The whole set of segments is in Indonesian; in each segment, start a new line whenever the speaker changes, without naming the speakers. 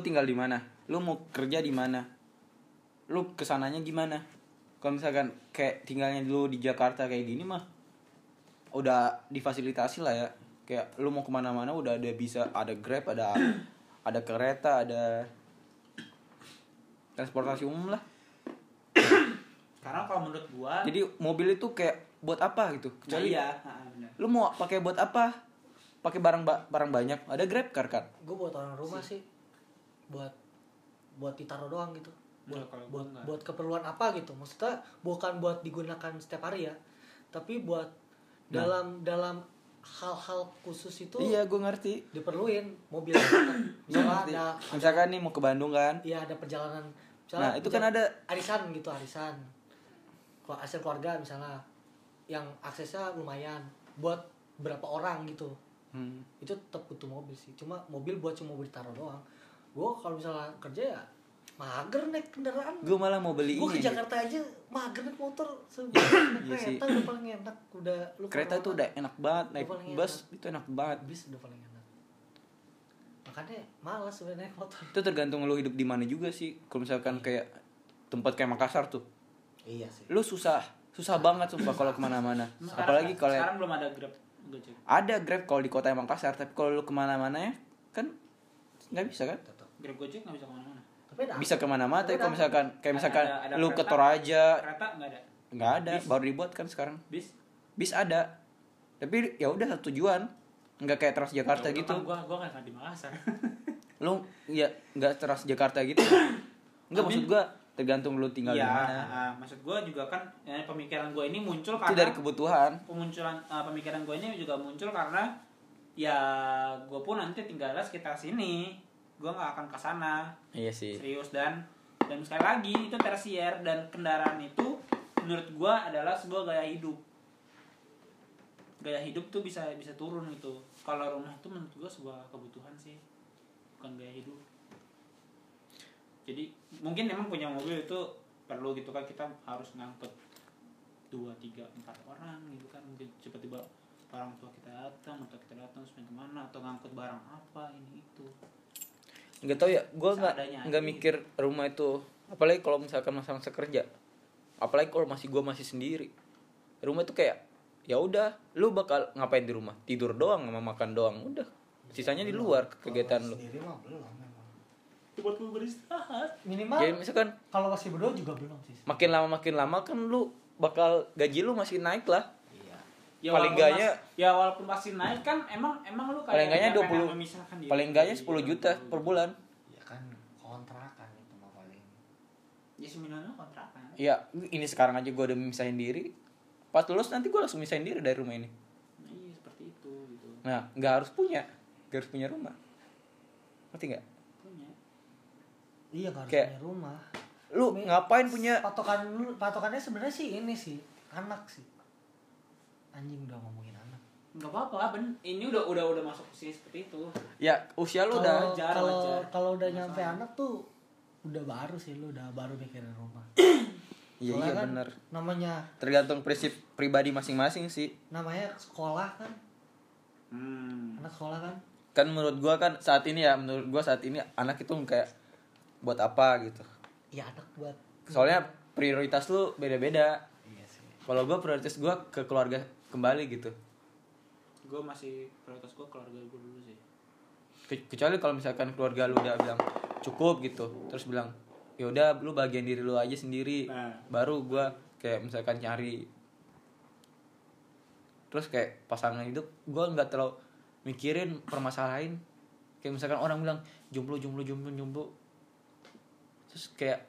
tinggal di mana lu mau kerja di mana lu kesananya gimana kalau misalkan kayak tinggalnya dulu di Jakarta kayak gini mah udah difasilitasi lah ya kayak lu mau kemana-mana udah ada bisa ada grab ada ada kereta ada transportasi umum lah
Karena kalau menurut gua
jadi mobil itu kayak buat apa gitu
nah
kecuali
iya, ha, bener.
lu mau pakai buat apa pakai barang ba- barang banyak ada grab car kan
gue buat orang rumah sih buat buat ditaruh doang gitu buat
Iya,
Nah, kalau gua
buat,
nggak.
buat keperluan apa gitu maksudnya bukan buat digunakan setiap hari ya tapi buat
Nah.
dalam dalam hal-hal khusus itu
iya gue ngerti
diperluin mobil
Gua
misalnya
ngerti.
Iya, ada
misalkan nih mau ke Bandung kan
ya ada perjalanan misalnya
nah itu kan
perjalanan-
ada
arisan gitu arisan kalau hasil keluarga misalnya yang aksesnya lumayan buat berapa orang gitu
Hmm.
itu tetap butuh mobil sih cuma mobil buat cuma buat ditaruh doang gue kalau misalnya kerja ya mager naik kendaraan
gue malah mau beli
gue ke
ini
Jakarta aja mager naik motor sebenarnya
iya sih.
kereta udah paling enak udah lu
kereta itu udah enak banget naik
Lu paling
bus itu enak banget
bis udah paling enak makanya malas sebenarnya naik motor
itu tergantung lu hidup di mana juga sih kalau misalkan
Iya.
kayak tempat kayak Makassar tuh
iya sih
lu susah susah banget sumpah kalau kemana-mana
Sekarang-
apalagi kalau
sekarang belum ada grab gojek.
ada grab kalau di kota Makassar tapi kalau lu kemana-mana ya kan nggak bisa kan
tetap
Grab gojek nggak bisa kemana-mana.
tapi ada
bisa kemana-mana tapi kalau misalkan kayak
Ada-
misalkan
ada- ada
lu ke
kereta.
Toraja
Kereta nggak ada.
nggak ada
Bis.
baru dibuat kan sekarang
Bis.
bis ada tapi ya udah satu tujuan nggak kayak Transjakarta
Ya,
gitu
kan Gua gua nggak akan di Makassar.
lu ya nggak teras Jakarta gitu nggak maksud gua tergantung lu tinggal di
Iya,
mana
ah, ah. maksud gua juga kan eh, pemikiran gua ini muncul
itu dari
karena
kebutuhan
pemunculan eh, pemikiran gua ini juga muncul karena ya gua pun nanti tinggalnya sekitar sini. Gua nggak akan ke sana.
iya sih
serius dan dan sekali lagi itu tersier dan kendaraan itu menurut gua adalah sebuah gaya hidup gaya hidup tuh bisa bisa turun gitu kalau rumah tuh menurut gua sebuah kebutuhan sih bukan gaya hidup jadi mungkin emang punya mobil itu perlu gitu kan kita harus ngangkut dua tiga empat orang gitu kan mungkin tiba-tiba orang tua kita datang atau kita datang terus main kemana atau ngangkut barang apa ini itu
nggak tahu ya gua nggak
Seadanya aja
nggak
gitu.
mikir rumah itu apalagi kalau misalkan masa-masa kerja apalagi kalau masih gua masih sendiri rumah itu kayak ya udah lu bakal ngapain di rumah tidur doang sama makan doang udah sisanya di luar kegiatan lu
sendiri mah belum memang
buat gua beristirahat
minimal
jadi misalkan
kalau masih berdua juga belum sih
makin lama makin lama kan lu bakal gaji lu masih naik lah
iya
Paling
walaupun
enggaknya-
mas- ya walaupun pasti naik kan emang emang lu kayak
Paling enggaknya
pengen
20
memisahkan diri
paling enggaknya
dari
10 juta
orang
per
tua.
bulan
ya kan kontrakan itu mah paling
ya sembilan kontrakan
Ya, ini sekarang aja gue udah misahin diri. Pas lulus nanti gue langsung misahin diri dari rumah ini.
nah, iya seperti itu gitu
Nah, nggak harus punya, nggak harus punya rumah. Ngerti nggak?
punya
iya gak harus
Kayak-
punya rumah
Lu
Mi-
ngapain punya?
patokan lu- patokannya sebenarnya sih ini sih anak sih anjing udah ngomongin anak
nggak apa-apa ben ini udah udah udah masuk usia seperti itu
Ya usia lu
kalau
udah.
wajar,
kalau
wajar.
kalau udah
Nggak
nyampe
masalah.
anak tuh udah baru sih lu udah baru mikirin rumah
Iya
Soalnya
iya
kan
benar.
namanya
Tergantung prinsip pribadi masing-masing sih.
namanya sekolah kan
hmm.
anak sekolah kan
Kan menurut gue kan saat ini ya, menurut gue saat ini anak itu kayak buat apa gitu.
ya anak buat
Soalnya prioritas lu beda-beda.
iya sih
Kalau gue prioritas gue ke keluarga kembali gitu.
gue masih prioritas gue keluarga gue dulu sih
Ke- kecuali kalau misalkan keluarga lu udah bilang cukup gitu terus bilang ya udah lu bagian diri lu aja sendiri
Nah.
baru gua kayak misalkan nyari terus kayak pasangan hidup gua nggak terlalu mikirin permasalahan kayak misalkan orang bilang jomblo jomblo jomblo jomblo terus kayak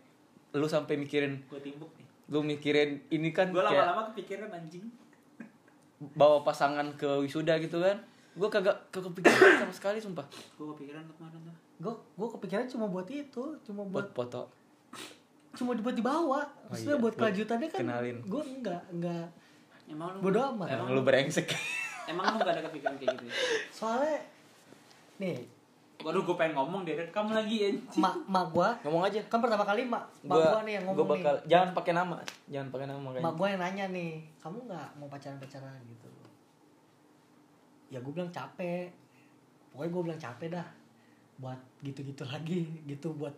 lu sampai mikirin
gue timbuk nih
lu mikirin ini kan
gue
kayak-
lama-lama kepikiran anjing
bawa pasangan ke wisuda gitu kan gua kagak kagak kepikiran sama sekali sumpah
gue kepikiran ke kemana tuh
gue gue kepikiran cuma buat itu cuma buat
buat foto
cuma buat dibawa
iya,
maksudnya buat
buat
kelanjutannya kan
kenalin.
gue enggak enggak
emang lu
Bodo amat.
emang
Emang
lu
lu brengsek.
emang lu gak ada kepikiran kayak gitu ya?
soalnya nih
waduh gue pengen ngomong deh kamu lagi anjing
mak mak gue
Ngomong aja.
kan pertama kali mak mak
Gua-
gue nih yang ngomong
gua bakal
nih
jangan pakai nama. Jangan pakai nama kayaknya.
mak gue yang nanya nih kamu nggak mau pacaran pacaran gitu ya gue bilang capek pokoknya gue bilang capek dah buat gitu-gitu lagi gitu buat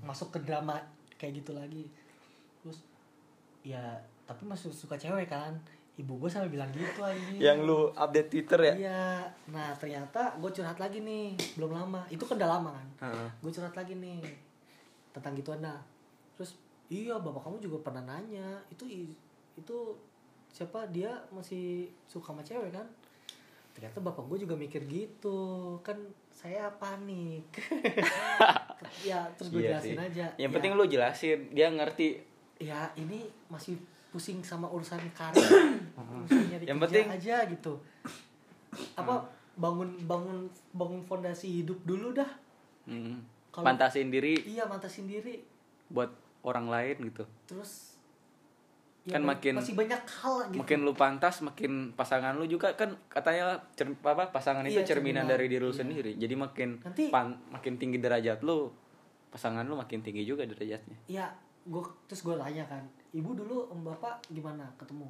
masuk ke drama kayak gitu lagi terus ya tapi masih suka cewek kan ibu gue sampai bilang gitu aja
Yang lu update Twitter ya?
iya nah ternyata gue curhat lagi nih belum lama itu kan udah lama kan
Heeh.
gue curhat lagi nih tentang gituan dah terus iya bapak kamu juga pernah nanya itu i- itu siapa dia masih suka sama cewek kan ternyata bapak gue juga mikir gitu kan saya panik ya terus gue
Iya
jelasin
sih.
aja
Yang
Ya,
penting lu jelasin, dia ngerti.
ya ini masih pusing sama urusan karir urusan nyari
Yang
kerja
penting- Hmm.
aja gitu apa bangun bangun bangun fondasi hidup dulu dah
Hmm.
Kalau-
Pantasin diri
iya mantas sendiri
buat orang lain gitu.
terus
Kan
ba-
makin-
masih banyak hal lah gitu
Makin lu pantas, makin pasangan lu juga kan katanya cer- apa pasangan itu
Iya,
cerminan
cerminan.
dari diri lu
Iya.
sendiri. Jadi makin
Nanti-
pan- makin tinggi derajat lu, pasangan lu makin tinggi juga derajatnya.
ya gue terus gue tanya kan ibu dulu om bapak gimana ketemu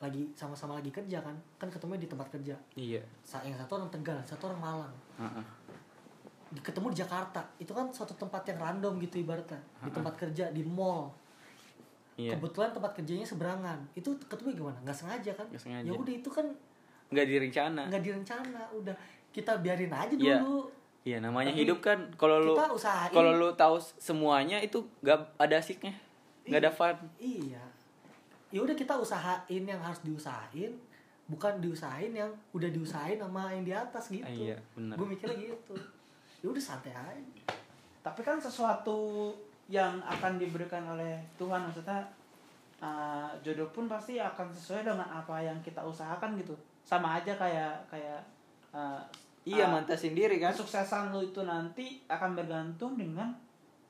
lagi sama-sama lagi kerja kan kan ketemu di tempat kerja
Iya.
Sa- yang satu orang tegal satu orang malang Di- ketemu di Jakarta itu kan suatu tempat yang random gitu ibaratnya di tempat kerja di mall
Iya.
kebetulan tempat kerjanya seberangan itu ketemu gimana nggak sengaja kan
Nggak sengaja.
ya udah itu kan
Nggak direncana.
nggak direncana udah kita biarin aja
Iya.
dulu
Iya namanya
Tapi
hidup kan kalau lu
kita usahain.
kalau lu tahu semuanya itu gak ada asiknya, nggak ada fun.
Iya. Ya udah kita usahain yang harus diusahain, bukan diusahain yang udah diusahain sama yang di atas gitu.
Ah, iya, benar.
Gue mikirnya gitu. Ya udah santai aja.
tapi kan sesuatu yang akan diberikan oleh Tuhan maksudnya uh, jodoh pun pasti akan sesuai dengan apa yang kita usahakan gitu sama aja kayak kayak uh,
Iya
ah,
uh,
mantasin diri kan.
kesuksesan lu itu nanti akan bergantung dengan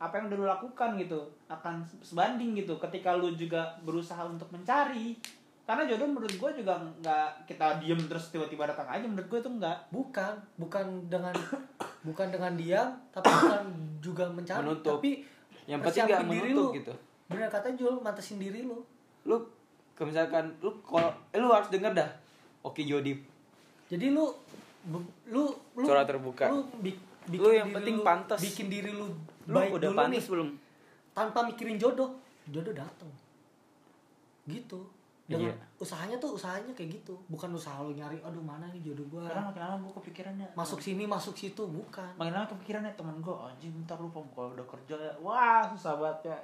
apa yang udah lu lakukan gitu akan sebanding gitu ketika lu juga berusaha untuk mencari karena jodoh menurut gue juga nggak kita diem terus tiba-tiba datang aja menurut gue itu nggak
Bukan, bukan dengan bukan dengan diam, tapi bukan juga mencari,
Menutup.
tapi
Yang penting nggak
persiapin diri
menutup
lu.
gitu.
Bener kata Jul, mantesin diri lu.
Lu kalau misalkan lu kalau eh, lu harus denger dah. Oke Jody,
Jadi lu be- lu lu
Secara terbuka.
Lu, bi- bikin
Lu yang
diri
penting
lu-
pantas.
Bikin diri lu
lu
baik
udah
dulu nih.
pantas belum?
tanpa mikirin jodoh jodoh datang gitu dengan
Iya.
usahanya tuh usahanya kayak gitu bukan usaha lu nyari aduh mana nih jodoh gua
karena makin lama gue kepikirannya
masuk sini masuk situ bukan
makin lama kepikirannya temen gue anjing bentar lupa kalau udah kerja ya wah susah banget ya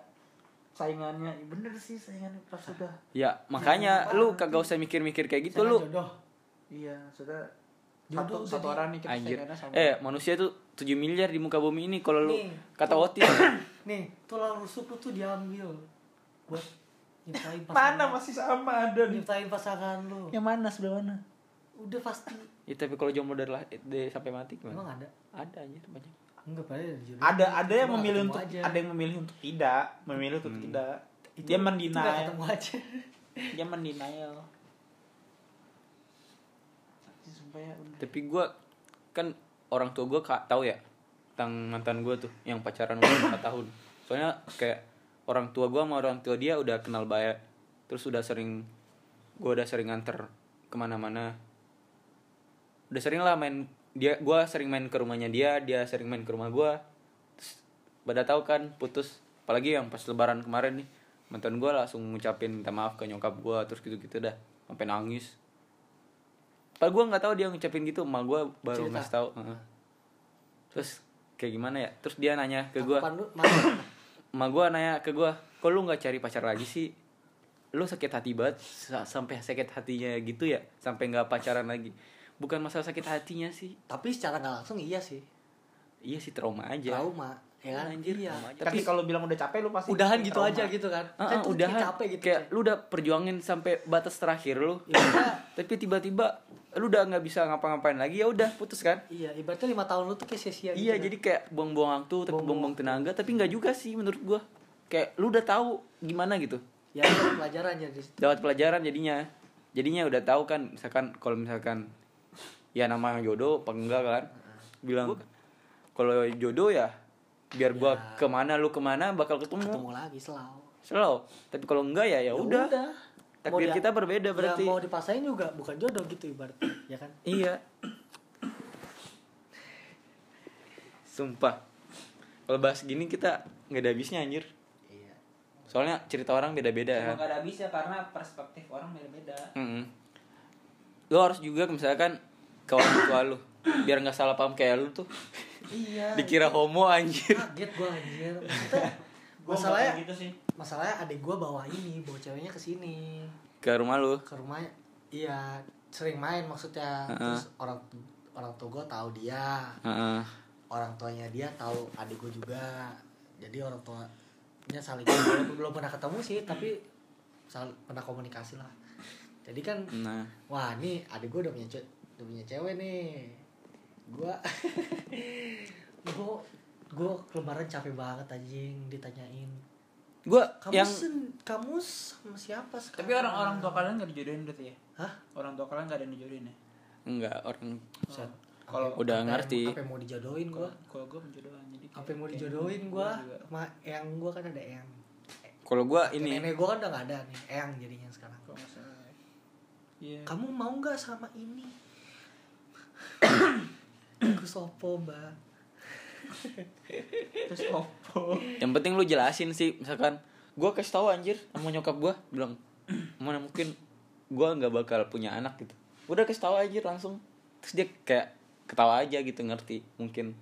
saingannya Ya bener sih saingannya pas sudah
Ya makanya
Jangan
lu
lupa.
kagak usah mikir-mikir kayak gitu
Misalnya
lu.
jodoh
iya sudah
Jodoh
satu
udah
satu
di-
orang nih kita
Anjir.
saingannya sama
Eh manusia tuh 7 miliar di muka bumi ini kalau lu
Nih.
kata Otis
nih tulang rusuk lu tuh diambil buat nyiptain
mana
pasangan
masih sama ada nih
nyiptain pasangan lu
yang mana sebelah mana
udah pasti
ya, tapi kalau jomblo dari, lah- eh, dari sampai mati gimana?
emang ada
Ada anjir banyak.
enggak pada ada jodoh
ada ada yang
Cuma
memilih
ketemu
untuk
aja.
ada yang memilih untuk tidak memilih untuk tidak dia
Itu- itu nggak
mendinai
ketemu aja
dia mendenial Tapi sumpah ya, udah.
Tapi gue kan orang tua gue tahu ya tentang mantan gue tuh yang pacaran udah 4 tahun. Soalnya kayak orang tua gue sama orang tua dia udah kenal baik. Terus udah sering gue udah sering nganter kemana-mana. Udah sering lah main dia gue sering main ke rumahnya dia dia sering main ke rumah gue. Terus pada tahu kan putus apalagi yang pas lebaran kemarin nih mantan gue langsung ngucapin minta maaf ke nyokap gue terus gitu-gitu dah sampai nangis Pak gue nggak tahu dia ngucapin gitu, emak gue baru
Cerita.
ngasih tahu. Heeh. Terus kayak gimana ya? Terus dia nanya ke gue,
Tangkapan lu, mana?
emak gue nanya ke gue, kok lu nggak cari pacar lagi sih? Lu sakit hati banget, sa- sampai sakit hatinya gitu ya, sampai nggak pacaran lagi. Bukan masalah sakit hatinya sih,
tapi secara nggak langsung iya sih
iya sih trauma aja.
trauma ya kan
Anjir,
iya
trauma aja.
tapi
Tapi-
kalau bilang udah capek lu pasti
udahan gitu
trauma.
aja gitu kan
Heeh,
tuh
udahan,
kayak capek gitu
kayak
Cek.
lu udah perjuangin sampai batas terakhir lu,
Ya udah,
tapi tiba-tiba lu udah nggak bisa ngapa-ngapain lagi, ya udah putus kan?
Iya, ibaratnya lima tahun lu tuh kayak sia-sia
Iya,
gitu
jadi kayak buang-buang waktu, tapi
Buang-buang
buang-buang tenaga, tapi nggak juga sih menurut gua. Kayak lu udah tahu gimana gitu.
ya itu pelajaran ya di situ.
Dapat pelajaran jadinya. Jadinya udah tahu kan, misalkan kalau misalkan ya nama jodoh apa enggak kan? Bilang kalau jodoh ya biar gua
Ya.
kemana lu kemana bakal ketemu.
Ketemu lagi selalu.
Selalu. Tapi kalau enggak ya ya udah.
Mau
Takdir
dia-
kita berbeda
ya,
berarti.
mau dipaksain juga bukan Iya. jodoh gitu ibaratnya, ya kan?
Iya. Sumpah. Kalau bahas gini kita nggak ada habisnya anjir.
Iya.
Soalnya cerita orang beda-beda kan.
Cuma gak ada habisnya karena perspektif orang beda-beda.
Mm-mm. Lo harus juga misalkan ke orang tua lu biar nggak salah paham kayak lu tuh
Iya.
dikira homo anjir.
Kaget gue anjir. Maksudnya,
Gua nggak
masalahnya
kayak gitu sih.
masalahnya adik gue bawa ini, bawa ceweknya ke sini.
Ke rumah lu.
Ke rumah iya sering main maksudnya.
Heeh.
Terus orang orang tua gue tahu dia.
Heeh.
orang tuanya dia tahu adik gue juga jadi orang tuanya saling belum, belum pernah ketemu sih tapi sal- pernah komunikasi lah jadi kan
Nah,
wah nih adik gue udah punya cewek udah punya cewek nih gue gue gue lebaran capek banget anjing ditanyain
gua yang
kamu sen- kamu sama siapa sekarang
Tapi orang-orang tua kan- kalian gak dijodohin berarti ya?
Hah?
Orang tua kalian gak ada yang dijodohin ya? Oh.
enggak orang
Set.
Kalau
Udah
Apa yang-
ngerti.
apa yang mau dijodohin gue
kalau- kalau gue penjodohan jadi
apa
kayak-
yang mau
kayak
dijodohin
gua
gue
Iya. juga.
ma yang gue kan ada yang
kalau gua
ini
ini
nenek gue kan udah gak ada nih eyang jadinya sekarang
Kalau nggak salah ya. Iya.
kamu mau nggak sama ini aku sopo mbak
Terus opo.
yang penting lu jelasin sih misalkan gua kasih tahu anjir sama nyokap gua bilang mana mungkin gua nggak bakal punya anak gitu udah kasih tahu anjir langsung terus dia kayak ketawa aja gitu ngerti mungkin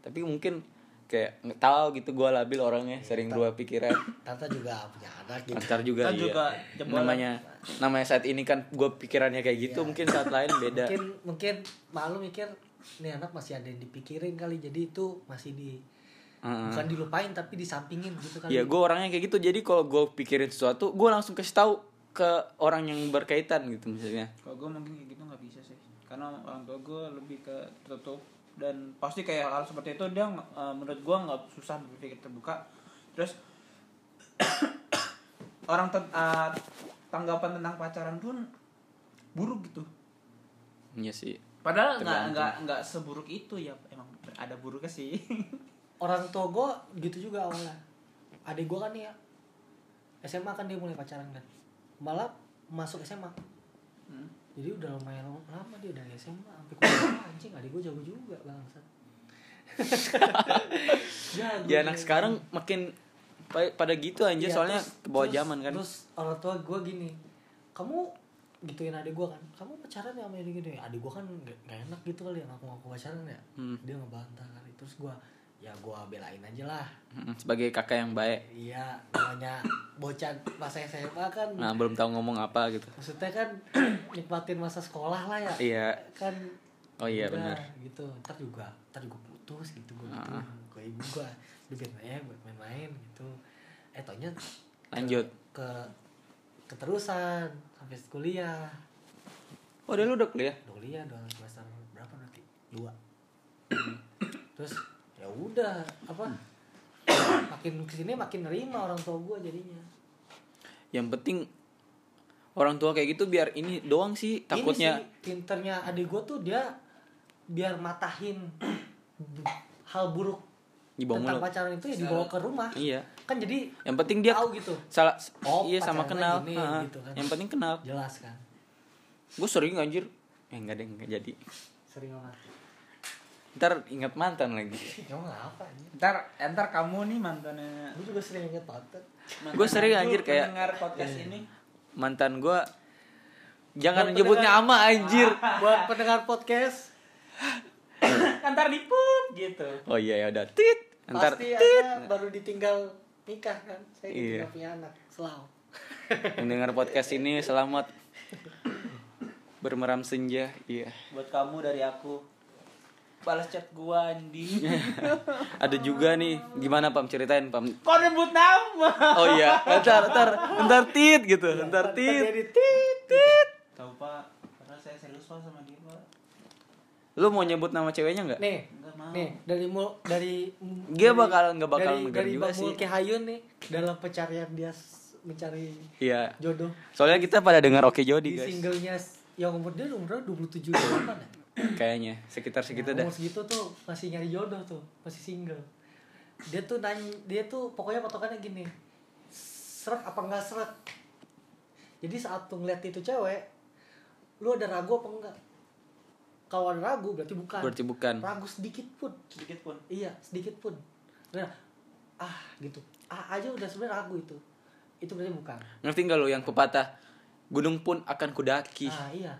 tapi mungkin kayak nggak tahu gitu gua labil
Iya,
orangnya sering dua pikiran
tante juga punya anak gitu
lancar juga,
Ntar
iya.
juga jebolan.
namanya namanya saat ini kan gua pikirannya kayak gitu
Iya.
mungkin saat lain beda
mungkin mungkin malu mikir nih anak masih ada yang dipikirin kali jadi itu masih di
Heeh.
bukan dilupain tapi disampingin gitu kali
Ya gue orangnya kayak gitu Jadi kalau gue pikirin sesuatu Gue langsung kasih tahu ke orang yang berkaitan gitu misalnya
Kalau gue mungkin kayak gitu nggak bisa sih, karena orang tua gue lebih ke tertutup dan pasti kayak hal seperti itu dia nggak- eh, menurut gue nggak susah berpikir terbuka. Terus orang ten- eh, tanggapan tentang pacaran pun buruk gitu.
Iya sih
Padahal nggak
Tergantung.
nggak nggak seburuk itu ya emang ada buruknya sih.
orang tua gue gitu juga awalnya adik gue kan nih ya SMA kan dia mulai pacaran kan malah masuk SMA
Hmm.
jadi udah lumayan lama dia udah SMA sampai kuliah anjing adik gue jago juga bangsat Ya, Jago
Ya anak
dia.
sekarang makin pa- pada gitu anjir
Iya,
Soalnya
terus-
bawa
terus-
zaman kan
terus orang tua gue gini kamu gituin adik gue kan kamu pacaran ya sama ini gitu ya adik gue kan gak, gak enak gitu kali ya ngaku-ngaku pacaran ya
Hmm.
dia ngebantah kali terus gue ya gue belain aja lah
Mm, Sebagai kakak yang baik
Iya, namanya bocah masa SMA kan.
Nah belum tahu ngomong apa gitu
Maksudnya kan nikmatin masa sekolah lah ya.
Iya
Kan
Oh iya
udah,
benar
gitu. Ntar juga, ntar juga putus gitu gue gitu.
Ah.
Ke ibu gua udah biar aja buat main-main gitu. Eh taunya ke-
Lanjut.
ke, keterusan sampai kuliah.
Oh dia lu udah kuliah
Udah kuliah udah semester berapa nanti? Dua. Terus ya udah apa? makin kesini makin nerima orang tua gue jadinya.
Yang penting Orang tua kayak gitu biar ini doang sih Takutnya
ini sih, pinternya adik gue tuh dia biar matahin bu- hal buruk
Dibawa
tentang
mulu.
pacaran itu ya dibawa ke rumah
Iya
kan jadi
Yang penting dia
tahu gitu
Salah
Oh,
Iya sama
pacarannya
kenal
gini,
Ha,
gitu kan.
Yang penting kenal
jelas kan
Gue sering anjir Eh enggak deh enggak jadi
sering banget
Ntar ingat mantan lagi
emang apa aja
ntar ntar kamu nih mantannya.
gue juga sering inget banget
mantannya
Gua sering
itu
anjir kayak-
mendengar podcast ini.
mantan gua jangan
Buat
nyebutnya
pendengar.
ama anjir
buat pendengar podcast
ntar diput gitu.
oh iya ya udah tit ntar
pasti
tit
anda baru ditinggal nikah kan saya
Iya.
ditinggal punya anak selalu
mendengar podcast ini selamat bermeram senja iya
buat kamu dari aku balas chat gua Andi
ada juga nih gimana pam ceritain pam
kok rebut nama
oh iya ntar ntar ntar tit gitu ntar tit
Iya, jadi tit tit
tahu pak karena saya serius pak sama dia pak
lu mau nyebut nama ceweknya nggak
nih
Nggak mau.
nih dari mul dari
Dia
dari-
bakal- nggak bakal
dari,
negor
dari
juga
Bang
sih.
Mulki Hayun nih dalam pencarian dia s- mencari
iya
jodoh
soalnya kita pada dengar oke
di
jody Oh, guys
singlenya s- yang umur dia umurnya 27 delapan ya
kayaknya sekitar segitu dah
Nah, umur segitu tuh masih nyari jodoh tuh masih single dia tuh nanya dia tuh pokoknya patokannya gini seret apa enggak seret jadi saat tuh ngeliat itu cewek lu ada ragu apa enggak kalau ada ragu berarti bukan
Berarti bukan.
ragu sedikit pun
sedikit pun
iya sedikit pun nah ah gitu ah aja udah sebenarnya ragu itu itu berarti bukan
Ngerti nggak lo yang pepatah? Gunung pun akan kudaki,
ah iya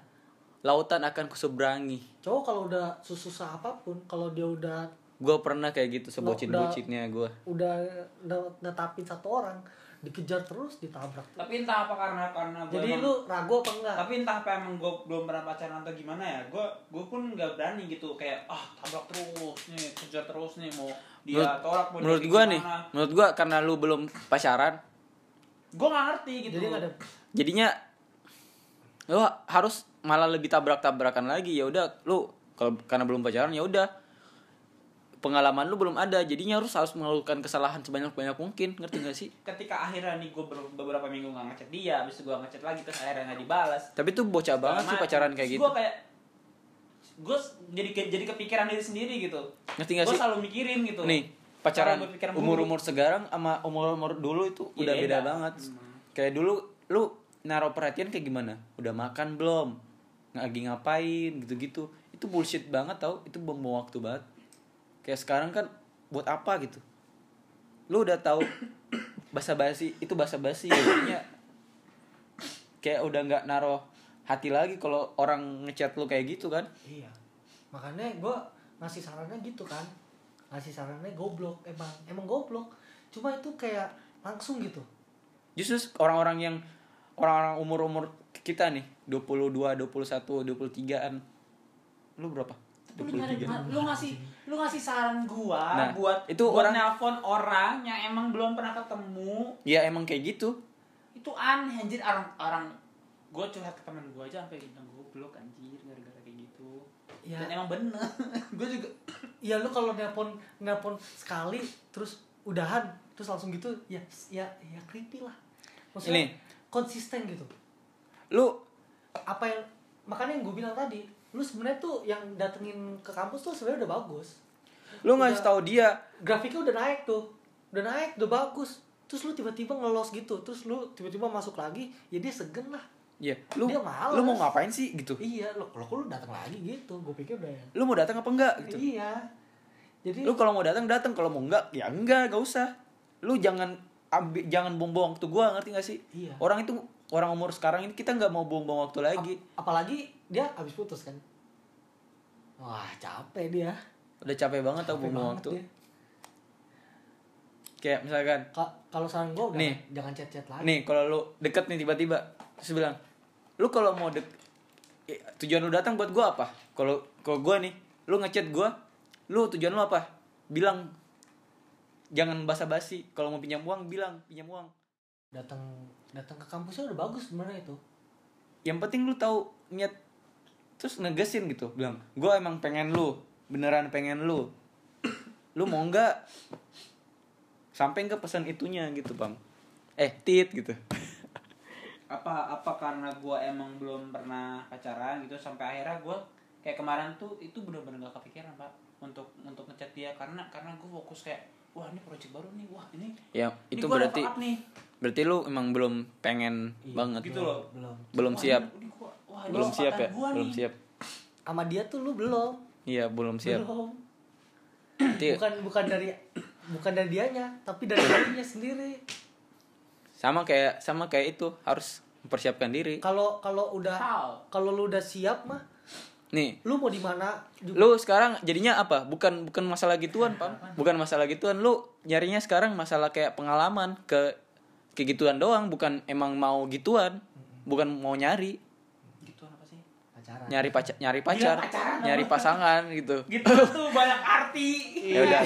lautan akan kuseberangi.
cowok kalau udah susah apapun kalau dia udah
Gue pernah kayak gitu sebocin-bocinnya gue.
udah ne- netapin satu orang dikejar terus ditabrak terus.
tapi entah apa karena karena gua
jadi
emang-
lu ragu apa enggak
tapi entah apa emang gue belum pernah pacaran atau gimana ya gue gue pun nggak berani gitu kayak ah tabrak terus nih kejar terus nih mau dia
Menurut-
tolak mau
Menurut gue nih, menurut gue karena lu belum pacaran,
gue nggak ngerti gitu
jadi nggak ada
jadinya lu ha- harus malah lebih tabrak-tabrakan lagi. Ya udah, lu kalau karena belum pacaran ya udah pengalaman lu belum ada jadinya harus harus mengeluhkan kesalahan sebanyak banyak mungkin ngerti gak sih
ketika akhirnya nih gue beberapa minggu nggak ngechat dia habis itu gue ngechat lagi terus akhirnya nggak dibalas
tapi tuh bocah banget sih pacaran kayak gitu
gue kayak gue jadi ke- jadi kepikiran diri sendiri gitu
ngerti gak
gue
sih
selalu mikirin gitu
nih pacaran
Cara berpikiran buruk.
umur umur sekarang sama umur umur dulu itu
Iya,
udah beda
beda.
banget kayak dulu lu naruh perhatian kayak gimana udah makan belum lagi ngapain gitu gitu itu bullshit banget tau itu membawa waktu banget kayak sekarang kan buat apa gitu lu udah tahu basa basi itu basa basi jadinya kayak udah nggak naruh hati lagi kalau orang ngechat lu kayak gitu kan
iya makanya gue ngasih sarannya gitu kan ngasih sarannya goblok emang emang goblok cuma itu kayak langsung gitu
justru orang-orang yang orang-orang umur-umur kita nih 22, 21, 23-an. Lu berapa?
Lu dengerin,
gitu.
lu ngasih lu ngasih saran gua
Nah,
buat
itu
buat
orang-
nelpon orang yang emang belum pernah ketemu
Ya emang kayak gitu.
itu aneh anjir orang orang gue curhat ke teman gue aja sampai bilang goblok anjir gara-gara kayak gitu
Ya.
dan emang bener gue juga
Iya lu kalau nelpon nelpon sekali terus udahan terus langsung gitu ya ya ya creepy lah.
Ini.
Maksudnya konsisten gitu.
Lu
Apa yang makanya yang gue bilang tadi, lu sebenarnya tuh yang datengin ke kampus tuh sebenarnya udah bagus.
lu ngasih
Udah.
tahu dia
Grafiknya udah naik tuh. Udah naik, udah bagus. Terus lu tiba-tiba ngelos gitu. Terus lu tiba-tiba masuk lagi, ya dia segen lah.
ya lu
Dia males.
lu mau ngapain sih gitu
Iya, lo kalau lu datang lagi gitu, gue pikir udah ya.
lu mau datang apa enggak gitu
Iya. Jadi
lu kalau mau datang datang kalau mau enggak ya enggak gak usah lu jangan ambil jangan buang-buang waktu gua ngerti gak sih
Iya.
orang itu orang umur sekarang ini kita nggak mau buang-buang waktu lagi
Ap- apalagi dia habis putus kan. Wah, capek dia.
udah capek banget tau
Capek
buang-buang
banget
waktu
dia.
kayak misalkan
Ka- Kalau saran gue udah
Nih.
jangan chat-chat lagi.
Nih kalau lu deket nih tiba-tiba Terus bilang Lu kalau mau dek eh, Tujuan lu datang buat gua apa? Kalau kalau gua nih Lu ngechat gua Lu tujuan lu apa? Bilang Jangan basa-basi Kalau mau pinjam uang bilang pinjam uang
Datang datang ke kampusnya udah bagus sebenarnya itu.
Yang penting lu tahu niat Terus negesin gitu Bilang Gua emang pengen lu Beneran pengen lu Lu mau nggak Sampai nggak pesan itunya gitu bang Eh tit gitu
apa apa karena gue emang belum pernah pacaran gitu sampai akhirnya gue kayak kemarin tuh itu bener-bener gak kepikiran pak untuk untuk ngechat dia karena karena gue fokus kayak wah ini project baru nih wah ini
Ya
ini
itu
gua ada
berarti
backup nih
Berarti lu emang belum pengen
Iya,
banget.
gitu loh
Belum.
Belum
Wah,
siap.
ini- ini gua- wah, ini
Belum siap ya?
kesempatan gua
Belum
nih.
siap.
Sama dia tuh lu belum.
Iya, belum siap.
Belum.
Nanti
Bukan bukan dari bukan dari dianya, tapi dari dirinya sendiri.
sama kayak sama kayak itu harus mempersiapkan diri.
Kalau kalau udah
How?
kalau lu udah siap mah,
Nih,
lu mau di mana? juga-
lu sekarang jadinya apa? Bukan bukan masalah gituan, Pam. Bukan masalah gituan. Lu nyarinya sekarang masalah kayak pengalaman ke kayak gituan doang, bukan emang mau gituan. Bukan mau nyari,
gitu apa sih
Pacaran.
nyari pacar, nyari pacar,
pacaran
nyari
apa?
pasangan gitu.
gitu tuh banyak arti
Ya udah.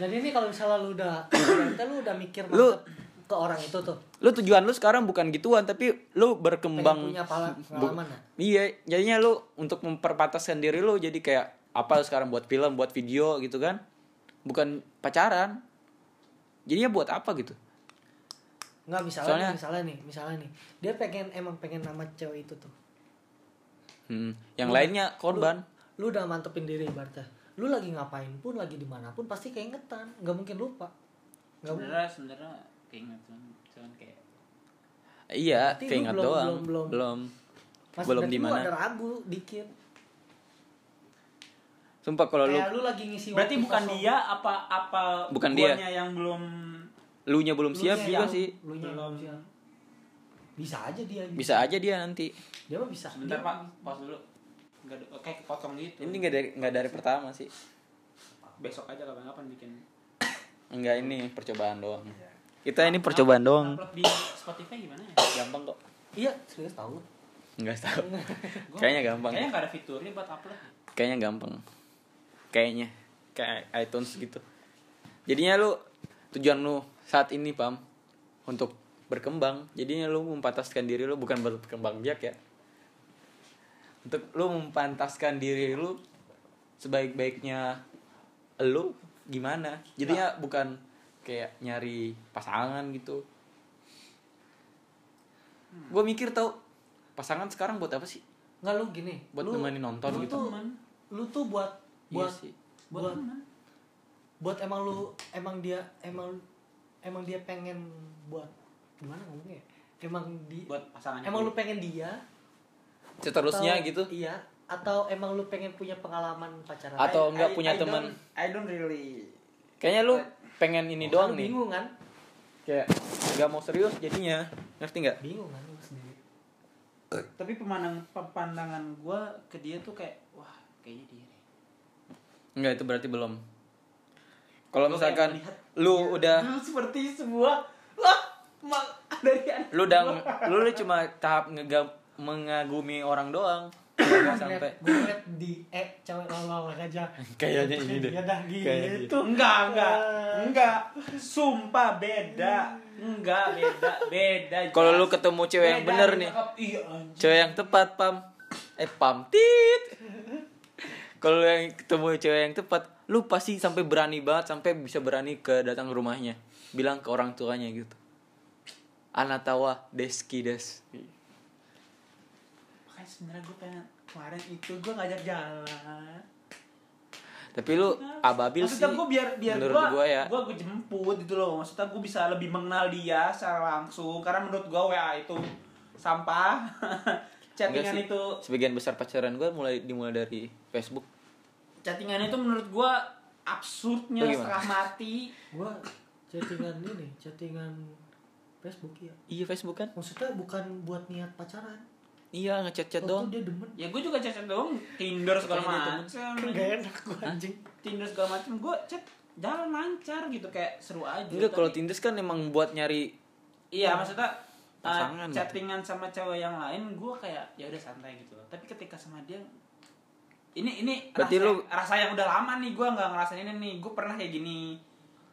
Jadi ini kalau misalnya lu udah ternyata lu udah mikir
Lu-
mantep ke orang itu tuh.
Lu tujuan lu sekarang bukan gituan, tapi lu berkembang
Pengen punya pala-
Bu-
pengalaman ya?
Iya, jadinya lu untuk memperbataskan diri lu jadi kayak apa lu sekarang buat film, buat video gitu kan? Bukan pacaran. Jadinya buat apa gitu?
Nggak misalnya
Soalnya-
nih, misalnya nih, misalnya nih. Dia pengen emang pengen nama cewek itu tuh.
Hmm, yang
Lu-
lainnya korban.
Lu, lu udah mantepin diri ibaratnya. Lu lagi ngapain pun, lagi dimanapun pasti keingetan. Nggak mungkin lupa. Nggak mungkin.
sebenarnya sebenarnya keingetan cuman kayak
Iya,
Berarti lu
keinget
belum-
Iya, doang.
belum- belum. Pas
Belum
dapet
di
lu
mana.
ada ragu dikit
Sumpah kalau lu
kayak lu lagi ngisi
Berarti
waktu
bukan
kosong.
dia apa apa
Bukan
guanya
dia.
yang belum
lu nya belum
Lu
siap
nya
juga
yang-
sih.
lu nya yang
Belum.
siap. bisa aja dia
Bisa aja dia nanti.
dia mah bisa
sebentar
Dia-
Pak, pause dulu. Enggak ada kayak kepotong gitu.
Ini nggak dari nggak dari pertama sih.
besok aja kapan-kapan bikin.
Enggak ini percobaan doang.
Iya.
Kita ini percobaan doang.
Upload di Spotify gimana ya?
Gampang kok.
iya serius tahu
Enggak tahu.
Gua-
Kayaknya gampang.
Kayaknya nggak ada fiturnya buat upload.
Kayaknya gampang. Kayaknya kayak iTunes gitu. Jadinya lu tujuan lu saat ini pam untuk berkembang. Jadinya lu mempataskan diri lu bukan berkembang biak ya. Untuk lu mempantaskan diri lu sebaik-baiknya lu gimana. Jadinya bukan kayak nyari pasangan gitu. Gue mikir tau pasangan sekarang buat apa sih?
nggak lu gini
Buat
lu,
nemenin nonton
lu
gitu.
tuh,
Teman.
lu tuh buat
Iya
buat
sih.
buat
Buat teman.
buat emang lu emang dia emang emang dia pengen buat gimana ngomongnya ya? emang di
Buat pasangan.
emang lu pengen dia
seterusnya
Atau-
gitu
iya atau emang lu pengen punya pengalaman pacaran
Atau- nggak punya teman.
don't- I don't really.
kayaknya lu pengen ini
Kan
doang
lu
nih
bingung kan
kayak nggak mau serius jadinya ngerti nggak
bingung kan lu sendiri
Tapi pemandang pandangan gua ke dia tuh kayak wah, kayaknya dia. deh.
nggak itu berarti belum kalau
Gua
misalkan
kayak melihat-
Iya.
lu udah
Lu seperti sebuah wah, ma- dari anak
lu udah lu, lu cuma tahap ngegam- mengagumi orang doang nggak sampai
gue ngeliat di eh cewek lolol aja
Kayaknya ini deh.
ya dah
Kayaknya dia.
gitu
Tuh, enggak, enggak, enggak. Sumpah beda. Enggak, beda, beda.
kalau lu
jelas.
ketemu cewek yang
Beda,
bener
ini
gitu.
nih
cakep. Iya, anjing.
cewek yang tepat pam eh pam tit kalau lu yang ketemu cewek yang tepat lu pasti sampai berani banget sampai bisa berani ke datang ke rumahnya bilang ke orang tuanya gitu Anatawa deski des
Makanya sebenarnya gue pengen kemarin itu gue ngajak jalan.
tapi lu ababil sih
maksudnya gue biar biar
menurut
gue
gua ya
gue gue jemput gitu loh maksudnya gue bisa lebih mengenal dia secara langsung karena menurut gue wa itu sampah
Enggak
chattingan
sih.
itu
sebagian besar pacaran gue mulai dimulai dari Facebook
chattingan itu menurut gue absurdnya
Lu gimana?
setengah mati
gue chattingan ini chattingan Facebook ya
iya Facebook kan
maksudnya bukan buat niat pacaran
iya ngechat chat
waktu
doang
Oh, dia demen
ya gue juga chat doang tinder segala
Makanya dia
macam
gak enak gue anjing
tinder segala macam gue chat jalan lancar gitu kayak seru aja
enggak kalau
Tapi-
Tinder kan emang buat nyari
Iya maksudnya uh,
Pasangan gitu.
chattingan sama cewek yang lain gue kayak ya udah santai gitu loh. Tapi ketika sama dia ini ini
Berarti
rasa,
lu-
rasa yang udah lama nih gue nggak ngerasain ini nih gue pernah kayak gini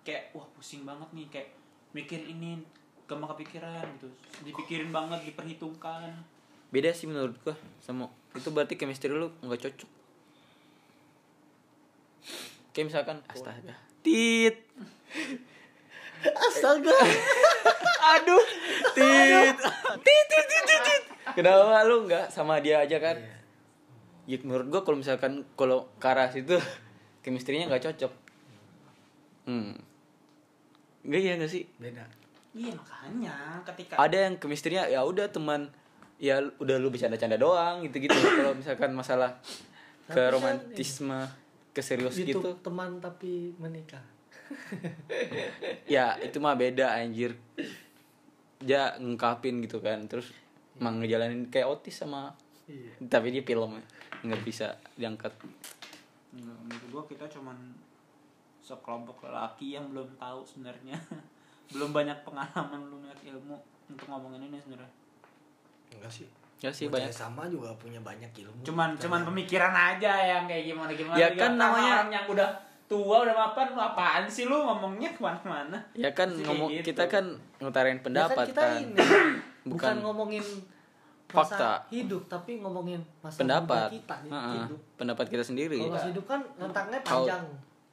kayak wah pusing banget nih kayak mikir ini gak mau kepikiran gitu dipikirin banget diperhitungkan
beda sih menurut gue sama itu berarti chemistry lu nggak cocok kayak misalkan astaga tit
astaga
aduh tit tit tit tit tit, tit. kenapa lu nggak sama dia aja kan ya menurut gue kalau misalkan kalau karas itu chemistry-nya nggak cocok hmm Enggak ya nggak sih
beda
iya makanya ketika
ada yang chemistry-nya ya udah teman ya udah lu bercanda-canda doang gitu-gitu kalau misalkan masalah
Tapi
ke
kan
romantisme ke serius
itu
gitu
teman tapi menikah
ya itu mah beda anjir dia ngungkapin gitu kan terus emang ngejalanin kayak otis sama
iya
tapi dia film nggak bisa diangkat
Enggak, menurut gue kita cuman sekelompok lelaki yang belum tahu sebenarnya belum banyak pengalaman belum banyak ilmu untuk ngomongin ini sebenarnya
enggak sih
ya sih
Gua
banyak
cewek sama juga punya banyak ilmu
cuman cuman pemikiran aja yang kayak gimana gimana
Ya
gitu.
kan
Karena
namanya-
orang yang udah tua udah mapan lu apaan sih lu ngomongnya kemana-mana
ya kan
Pasti kayak
ngomong
gitu.
kita kan ngutarain
Ya kan
pendapat
kita
kan
ini bukan,
Bukan
ngomongin masa
fakta.
hidup tapi ngomongin masa muda
pendapat
kita nih
Heeh, Iya.
hidup
pendapat kita sendiri
kalau masa hidup kan rentangnya panjang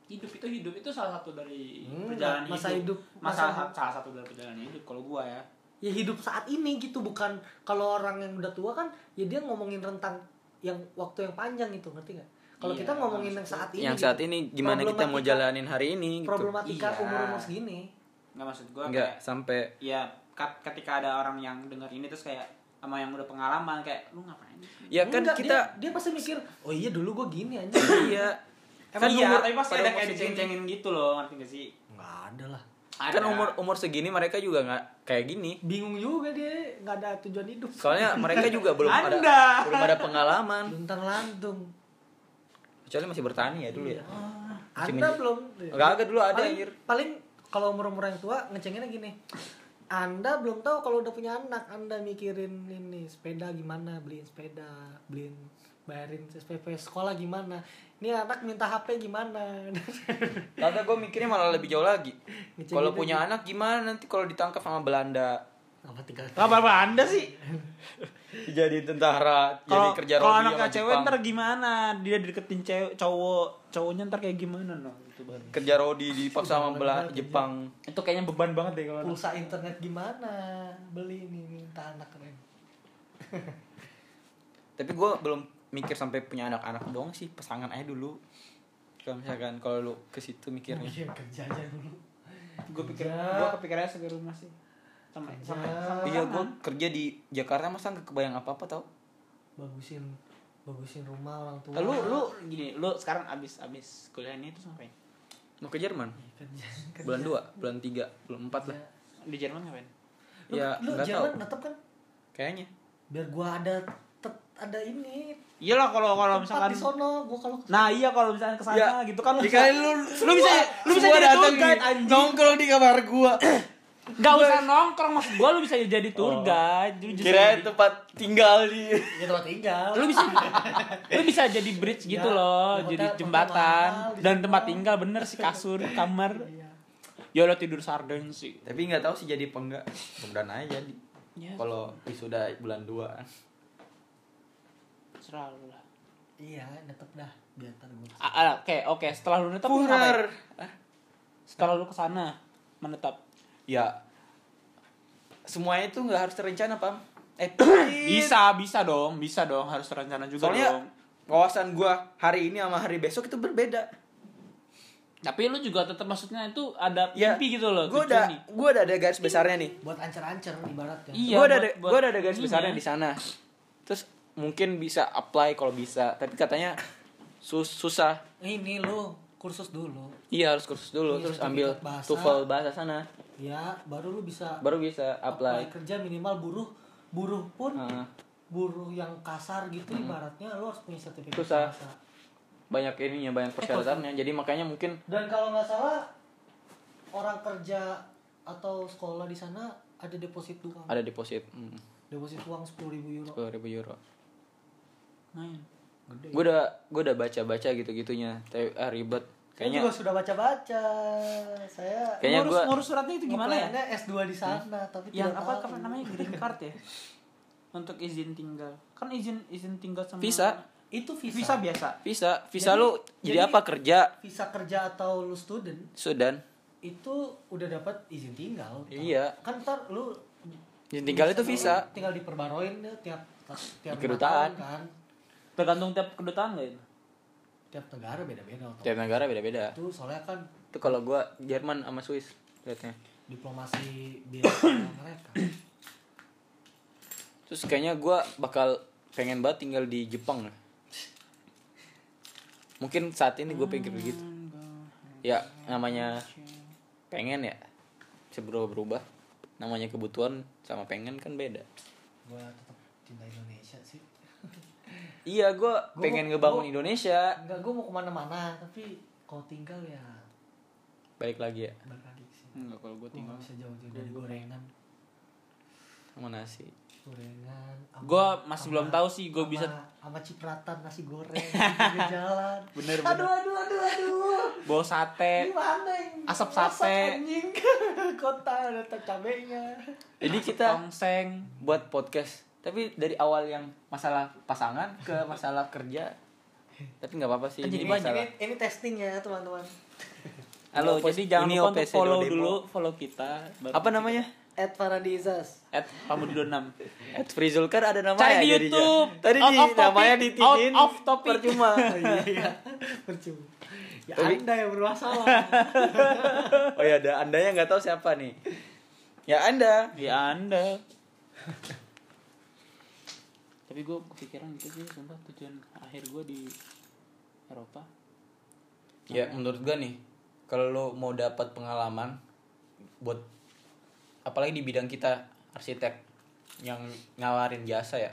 hidup itu hidup itu salah satu dari
Hmm,
perjalanan
masa
hidup,
hidup,
masa
masa-
salah satu dari perjalanan hidup kalau gua ya
ya hidup saat ini gitu bukan kalau orang yang udah tua kan ya dia ngomongin rentang yang waktu yang panjang gitu ngerti nggak kalau
Iya,
kita ngomongin yang
maksudnya.
saat ini
yang
gitu.
saat ini gimana kita mau
Problematika-
jalanin hari ini gitu
problematika
Iya.
umur umur segini
nggak maksud gua
nggak
kayak-
sampai
ya kat- ketika ada orang yang dengar ini terus kayak sama yang udah pengalaman kayak lu ngapain
ya kan
Enggak,
kita
dia, dia pasti mikir oh iya dulu gue gini aja
iya
Emang
di
iya,
umur-
tapi pasti
pada
ada
umur
kayak
segini-
diceng-cengin gitu loh, ngerti gak sih?
nggak ada lah
kan umur umur segini mereka juga nggak kayak gini
bingung juga dia nggak ada tujuan hidup
soalnya mereka juga belum ada
Anda.
belum ada pengalaman
luntang lantung
kecuali masih bertani ya dulu ya
Iya.
Masih
anda
men-
belum
Nggak ada dulu, ada,
paling,
anjir.
paling kalau umur umur yang tua ngecenginnya gini anda belum tahu kalau udah punya anak anda mikirin ini sepeda gimana beliin sepeda beliin bayarin SPP sekolah gimana ini anak minta HP gimana
Kata gue mikirnya malah lebih jauh lagi.
Ngecengin
Kalau
lagi.
punya anak gimana nanti kalau ditangkap sama Belanda?
apa tinggal
apa Anda sih?
Jadi tentara,
Kalau
jadi kerja
kalau
rodi
anaknya
sama
cewek
Jepang.
ntar gimana? Dia deketin cewek cowok, cowoknya ntar kayak gimana Gitu, no? Itu baru.
Kerja rodi dipaksa sama Bela- Jepang.
Itu kayaknya beban banget deh kalau.
pulsa internet gimana beli ini minta anak keren
Tapi gue belum mikir sampai punya anak-anak doang sih, pasangan aja dulu. Kalau misalkan kalau lu ke situ mikirnya.
Iya, kerja aja dulu
Gue pikir
Kerja.
gue kepikirannya sampai rumah sih. Sampai sampai sampai
Iya, gue
pasangan.
kerja di Jakarta masa nggak kebayang apa-apa tau?
bagusin bagusin rumah orang tua
Lu lu gini, lu sekarang abis abis kuliah ini terus ngapain?
Mau ke Jerman?
kerja kerja.
Bulan 2, bulan 3, bulan 4
Iya.
lah.
Di Jerman ngapain?
lu,
Ya,
lu
nggak
jangan
tahu.
netep kan
Kayaknya.
biar gua ada tet- ada ini
Iyalah kalau kalau
tempat
misalkan
di sono gua kalau
Nah iya kalau misalkan kesana
Ya,
gitu kan lu
Ya
bisa-
kali lu
lu bisa lu bisa jadi tour guide anjing.
Nongkrong di kamar gua.
Gak usah nongkrong maksud gua lu bisa jadi
Oh.
tour guide. Lu bisa
Kirain
jadi-
tempat tinggal di
ya tempat tinggal
lu bisa lu bisa jadi bridge
Ya,
gitu loh,
ya hotel-
jadi
hotel
jembatan
mahal di
dan
situ.
tempat tinggal bener sih kasur, kamar.
Iya.
Ya lo tidur sarden sih.
Tapi nggak tahu sih jadi apa enggak. Mudah-mudahan aja jadi.
Ya,
Kalau wisuda bulan 2.
terserah lu lah.
iya netep dah biar ntar gua
Ah, ah, Oke, oke, setelah lu netap lu
Punar.
ngapain? Setelah lu kesana menetap.
Ya. Semuanya tuh nggak harus terencana, Pam. Eh,
Bisa, bisa dong, bisa dong, harus terencana juga dong.
soalnya wawasan gua hari ini sama hari besok itu berbeda.
Tapi lu juga tetap maksudnya itu ada
Ya,
mimpi gitu loh.
Gua
tujuan
udah
nih.
gua udah ada garis besarnya nih.
buat ancer-ancer ya. ibaratnya
Iya.
gua udah
buat-
ada,
buat ya.
gua udah ada garis
ininya.
besarnya di sana. Terus mungkin bisa apply kalau bisa, tapi katanya sus- susah.
ini lu kursus dulu
Iya harus kursus dulu,
Iya,
terus
sertifikat
ambil
bahasa.
TOEFL bahasa sana,
ya baru lu bisa
baru bisa apply. Ah.
kerja minimal buruh buruh pun
Heeh.
buruh yang kasar gitu ibaratnya lu harus punya sertifikat
Hmm. Susah.
bahasa.
banyak ininya, banyak
Eh,
persyaratannya. Jadi makanya mungkin
dan kalau nggak salah orang kerja atau sekolah di sana ada deposit uang
ada deposit hmm,
deposit uang sepuluh ribu euro
10.000 euro.
Main.
gede
Gue udah gue udah baca baca gitu gitunya, tapi ah, ribet.
Saya
Kayaknya
juga sudah baca-baca. Saya
Kayaknya Hmm.
ngurus,
gua-
ngurus suratnya itu gimana ya?
ngeplannya S2 di sana, tapi
yang
tidak
apa
tahu.
apa namanya green card ya gitu. untuk izin tinggal kan izin izin tinggal sama
Visa.
Itu visa.
visa biasa
visa visa
Jadi-
lu jadi,
jadi-
apa kerja
Visa kerja atau lu student
Sudan?
itu udah dapat izin tinggal.
Iya.
Kan ntar lu
Jadi tinggal itu visa.
Tinggal diperbaroin ya tiap tiap
Di kedutaan.
tahun kan.
tergantung tiap kedutaan ya? gak itu
Tiap negara beda-beda otomatis.
Tiap negara beda beda.
Itu soalnya kan
Itu kalau gue Jerman sama Swiss liatnya.
diplomasi biasa mereka.
Terus kayaknya gue bakal pengen banget tinggal di Jepang lah. Mungkin saat ini gue pikir begitu. Ya namanya pengen ya seberapa berubah. Namanya kebutuhan sama pengen kan beda.
Gua tetap cinta Indonesia sih.
Iya gue pengen ngebangun
gua-
Indonesia.
Enggak, gua mau kemana-mana, tapi kalau tinggal ya
Balik lagi ya
balik lagi sih.
enggak kalau gue
Gua nggak bisa jauh-jauh dari gorengan.
sama nasi.
gorengan sama-
Gua masih
sama-
belum tahu sih, gua
sama-
bisa-
sama cipratan nasi goreng di pinggir jalan
Bener,
aduh aduh aduh aduh
bawa sate
gimana ini?
Asap
Masak
sate.
anjing kota ada tak cabenya
Jadi kita
tongseng
buat podcast tapi dari awal yang masalah pasangan ke masalah kerja tapi nggak apa-apa
Kan
sih
jadi
ini
banyak
masalah
ini, ini testing ya teman-teman
halo
Ini
jadi jangan
ini
lupa untuk
OPC
follow
Dodemo.
dulu follow kita Baru-
apa namanya
at paradisas
at Pamudido 6
at Frizulkar ada namanya
Cari di
jadinya.
YouTube.
tadi
Out
di
of topic.
namanya di
Out of topic.
percuma
iya iya percuma ya
Tapi-
anda yang bermasalah
oh ya ada anda yang nggak tahu siapa nih ya anda
ya anda tapi gue kepikiran itu sih sumpah tujuan akhir gue di Eropa
Ya menurut gua nih kalau lo mau dapat pengalaman buat apalagi di bidang kita arsitek yang ngawarin jasa ya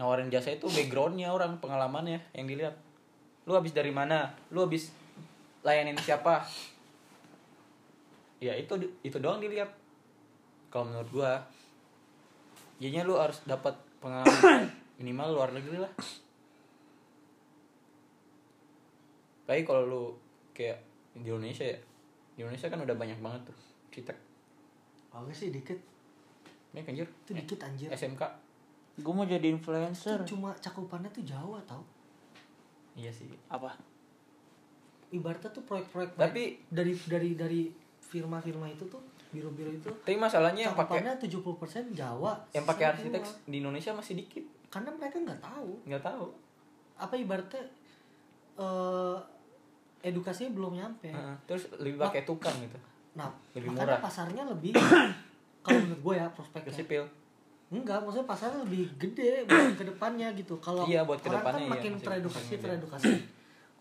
nawarin jasa itu backgroundnya orang pengalamannya yang dilihat lu habis dari mana lu habis layanin siapa ya itu itu doang dilihat kalau menurut gua jadinya lu harus dapat pengalaman minimal luar negeri lah Tapi kalau lu kayak di Indonesia ya, di Indonesia kan udah banyak banget tuh arsitek.
Agak sih dikit.
Ini anjir. eh,
Itu dikit anjir.
SMK.
gue mau jadi
Itu
influencer
cuma cakupannya tuh Jawa tau.
Iya sih.
apa
Ibaratnya tuh proyek-proyek
Tapi-
dari dari dari firma-firma itu tuh biro-biro itu
Tapi masalahnya yang pakai
cakupannya 70% Jawa.
yang pakai
sisanya
arsitek
Jawa.
di Indonesia masih dikit.
Karena mereka nggak tahu
Nggak tahu.
apa ibaratnya eh edukasinya belum nyampe.
Heeh. Terus lebih
Ah.
pakai tukang gitu.
Nah,
Lebih
makanya
murah.
pasarnya lebih kalau menurut gue ya
Ke
prospeknya.
sipil.
Enggak, maksudnya pasarnya lebih gede buat ke depannya gitu. Kalau
Iya, buat ke
orang kan
depannya, iya,
makin
masih-
teredukasi,
masih gede.
teredukasi.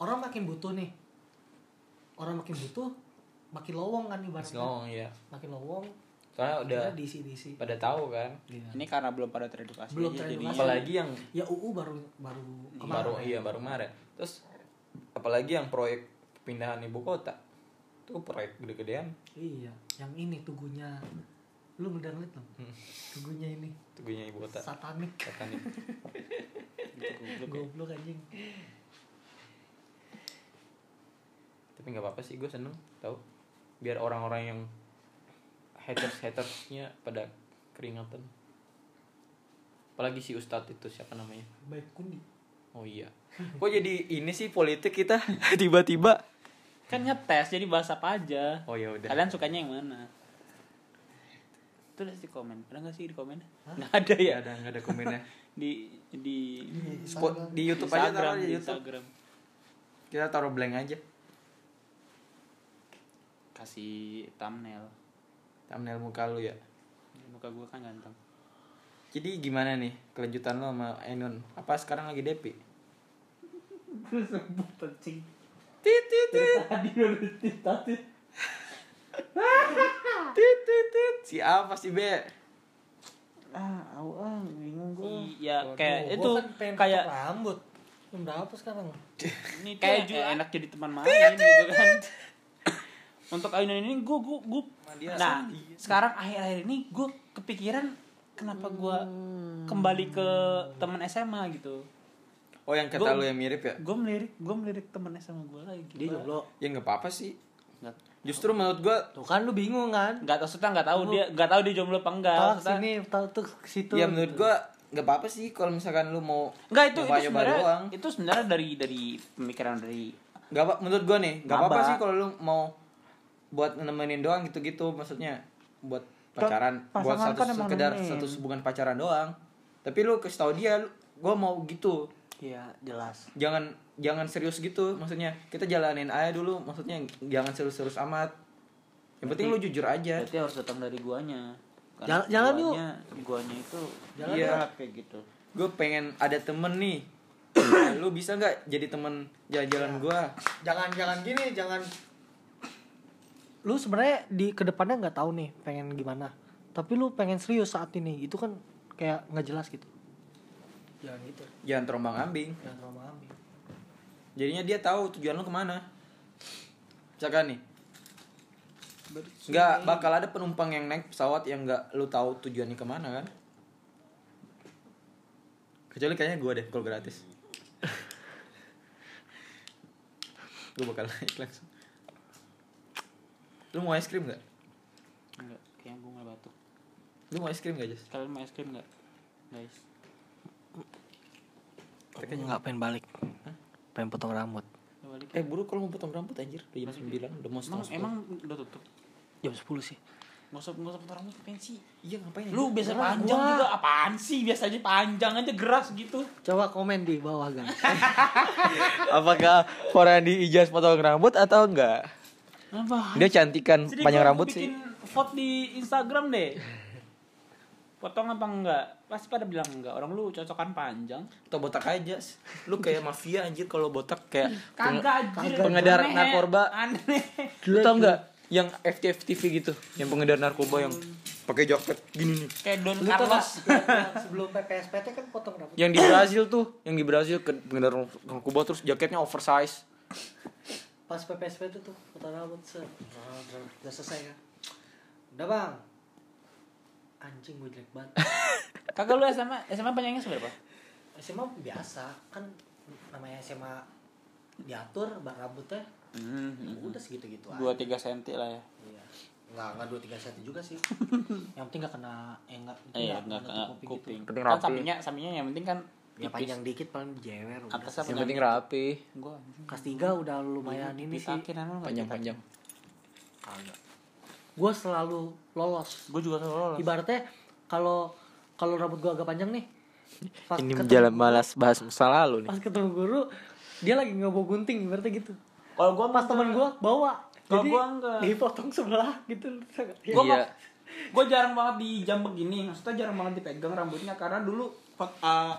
Orang makin butuh nih. Orang makin butuh, makin lowong kan Iya,
Masih
ibaratnya.
ngomong ya.
Makin lowong,
Soalnya Ah, udah
akhirnya diisi-diisi.
pada tahu kan.
Iya.
ini karena belum pada teredukasi
Belum
aja
teredukasi.
jadinya.
Apalagi yang
Ya UU baru baru kemarin.
baru iya baru kemarin. Terus apalagi yang proyek pindahan ibu kota. Itu proyek gede-gedean.
Iya, yang ini tugunya. Lu ngedownload belum?
Hmm.
Tugunya ini
Tugunya ibu kota.
satanik.
Katanya.
Gitu,
Goblok anjing.
tapi nggak apa-apa sih gue seneng tau biar orang-orang yang haters hatersnya pada keringatan apalagi si ustadz itu siapa namanya
Baik kundi.
oh iya kok jadi ini sih politik kita tiba-tiba
kan ngetes jadi bahas apa aja
oh ya udah
kalian sukanya yang mana tulis di komen ada nggak sih di komen nggak ada ya
nggak ada nggak ada komennya
di di
Spot- di YouTube aja
Instagram,
taruh di
di
YouTube
Instagram
kita taruh blank aja
kasih thumbnail
thumbnail muka lu ya
muka gue kan ganteng
jadi gimana nih kelanjutan lo sama Enun apa sekarang lagi depi
sebut kencing
tit tit tit
tadi udah tadi
tit tit tit si A apa si B
ah aku ah bingung gue iya kayak itu
Gua kan pengen
kayak
potong rambut. Jam berapa sekarang?
ini
Kayak
kayak
juga.
enak jadi teman main gitu kan untuk ayunan ini gue gue gue nah sekarang akhir-akhir ini gue kepikiran kenapa gue kembali ke teman SMA gitu
oh yang kata
Gua-
lu yang mirip ya
gue melirik gue melirik teman SMA gue lagi gitu.
Dia jomblo.
ya nggak apa-apa sih
nggak
justru menurut gue
Tuh kan lu bingung kan?
nggak maksudnya nggak tahu dia nggak tahu dia jomblo apa enggak
Tahu
maksudnya-
sini, tahu tuh ke situ.
Ya menurut gua nggak apa-apa sih kalau misalkan lu mau
Enggak itu itu
nyoba-nyoba
sebenarnya
doang.
itu sebenarnya dari dari pemikiran dari
Nggak apa menurut gua nih, nggak apa-apa
Maba.
sih kalau lu mau buat nemenin doang gitu-gitu maksudnya buat pacaran, buat
pasangan
satu
kan emang
sekedar
nemenin.
satu hubungan pacaran doang. Tapi lu kasih tau dia, lu- gua mau gitu.
ya jelas
Jangan jangan serius gitu maksudnya. Kita jalanin aja dulu maksudnya jangan serius-serius amat. Yang penting lu jujur aja.
berarti harus datang dari guanya
Jalan- jalan yuk.
guanya, guanya itu
Jalan
iya,
yuk.
kayak gitu
Gue pengen ada temen nih. lu bisa nggak jadi temen jalan-jalan gua?
jangan jangan gini, jangan lu sebenarnya di kedepannya nggak tahu nih pengen gimana tapi lu pengen serius saat ini itu kan kayak nggak jelas gitu jangan gitu
Jangan terombang ambing.
jangan terlalu ambil
jadinya dia tahu tujuan lu kemana misalkan nih nggak bakal ada penumpang yang naik pesawat yang nggak lu tahu tujuannya kemana kan kecuali kayaknya gua deh kalau gratis gue bakal naik langsung lu mau es krim nggak
enggak kayak gue nggak batuk
lu mau es krim nggak Jas?
kalian mau es krim nggak guys
tapi nggak pengen balik pengen potong rambut
Ya balik
eh buru kalau mau potong rambut anjir udah jam sembilan udah mau
emang
setengah
emang udah tutup
jam 10 sih
nggak usah nggak usah potong rambut pengen sih
sepuluh. iya ngapain
lu biasa
Gerah
panjang
gua.
juga apaan sih biasa aja panjang aja geras gitu
coba komen di bawah guys
apakah Farhandi Ijaz potong rambut atau enggak
apa
dia cantikan
Jadi
panjang
gua
rambut sih
bikin vote di Instagram deh potong apa enggak pasti pada bilang enggak orang lu cocokan panjang
atau botak aja Jas. lu kayak mafia anjir kalau botak kayak
kagak anjir
pengedar
aneh.
narkoba.
aneh
lu tau nggak yang FTV TV gitu yang pengedar narkoba yang pakai jaket gini nih
kayak Don
Lu tau nggak,
Carlos
yang sebelum PPSPT kan potong rambut.
yang di Brazil tuh yang di Brazil ke- pengedar narkoba terus jaketnya oversize
Pas PPSPT tuh potong rambut set. Nah, Udah udah selesai kan. Udah bang. Anjing gue jelek banget.
kagak lu SMA SMA panjangnya seberapa
SMA biasa kan namanya SMA diatur bang rambutnya udah segitu gitu
Hmm. Mm-hmm. dua
aja.
tiga senti lah ya
Iya. Nggak, nggak dua tiga set juga sih. yang penting nggak kena, eh nggak,
eh
nggak
enggak
menutup
enggak kuping
gitu.
Penting
kan
rapi.
sampingnya sampingnya yang penting kan
Ya
tipis.
panjang dikit paling jewer udah.
Atasnya
yang
panjang.
penting rapi
gua
Kelas tiga udah lumayan
Iya,
ini sih.
panjang-panjang
Gue selalu lolos
gue juga selalu
ibaratnya kalau kalau rambut gua agak panjang nih pas
ini
ketemu-
jalan malas bahas masa lalu nih
pas ketemu guru dia lagi nggak bawa gunting ibaratnya gitu
kalau gue
pas teman gua bawa
Kalau
jadi
gua enggak.
dipotong sebelah gitu
Iya.
Gua mah- gua jarang banget di jam begini maksudnya jarang banget dipegang rambutnya karena dulu pot- eh,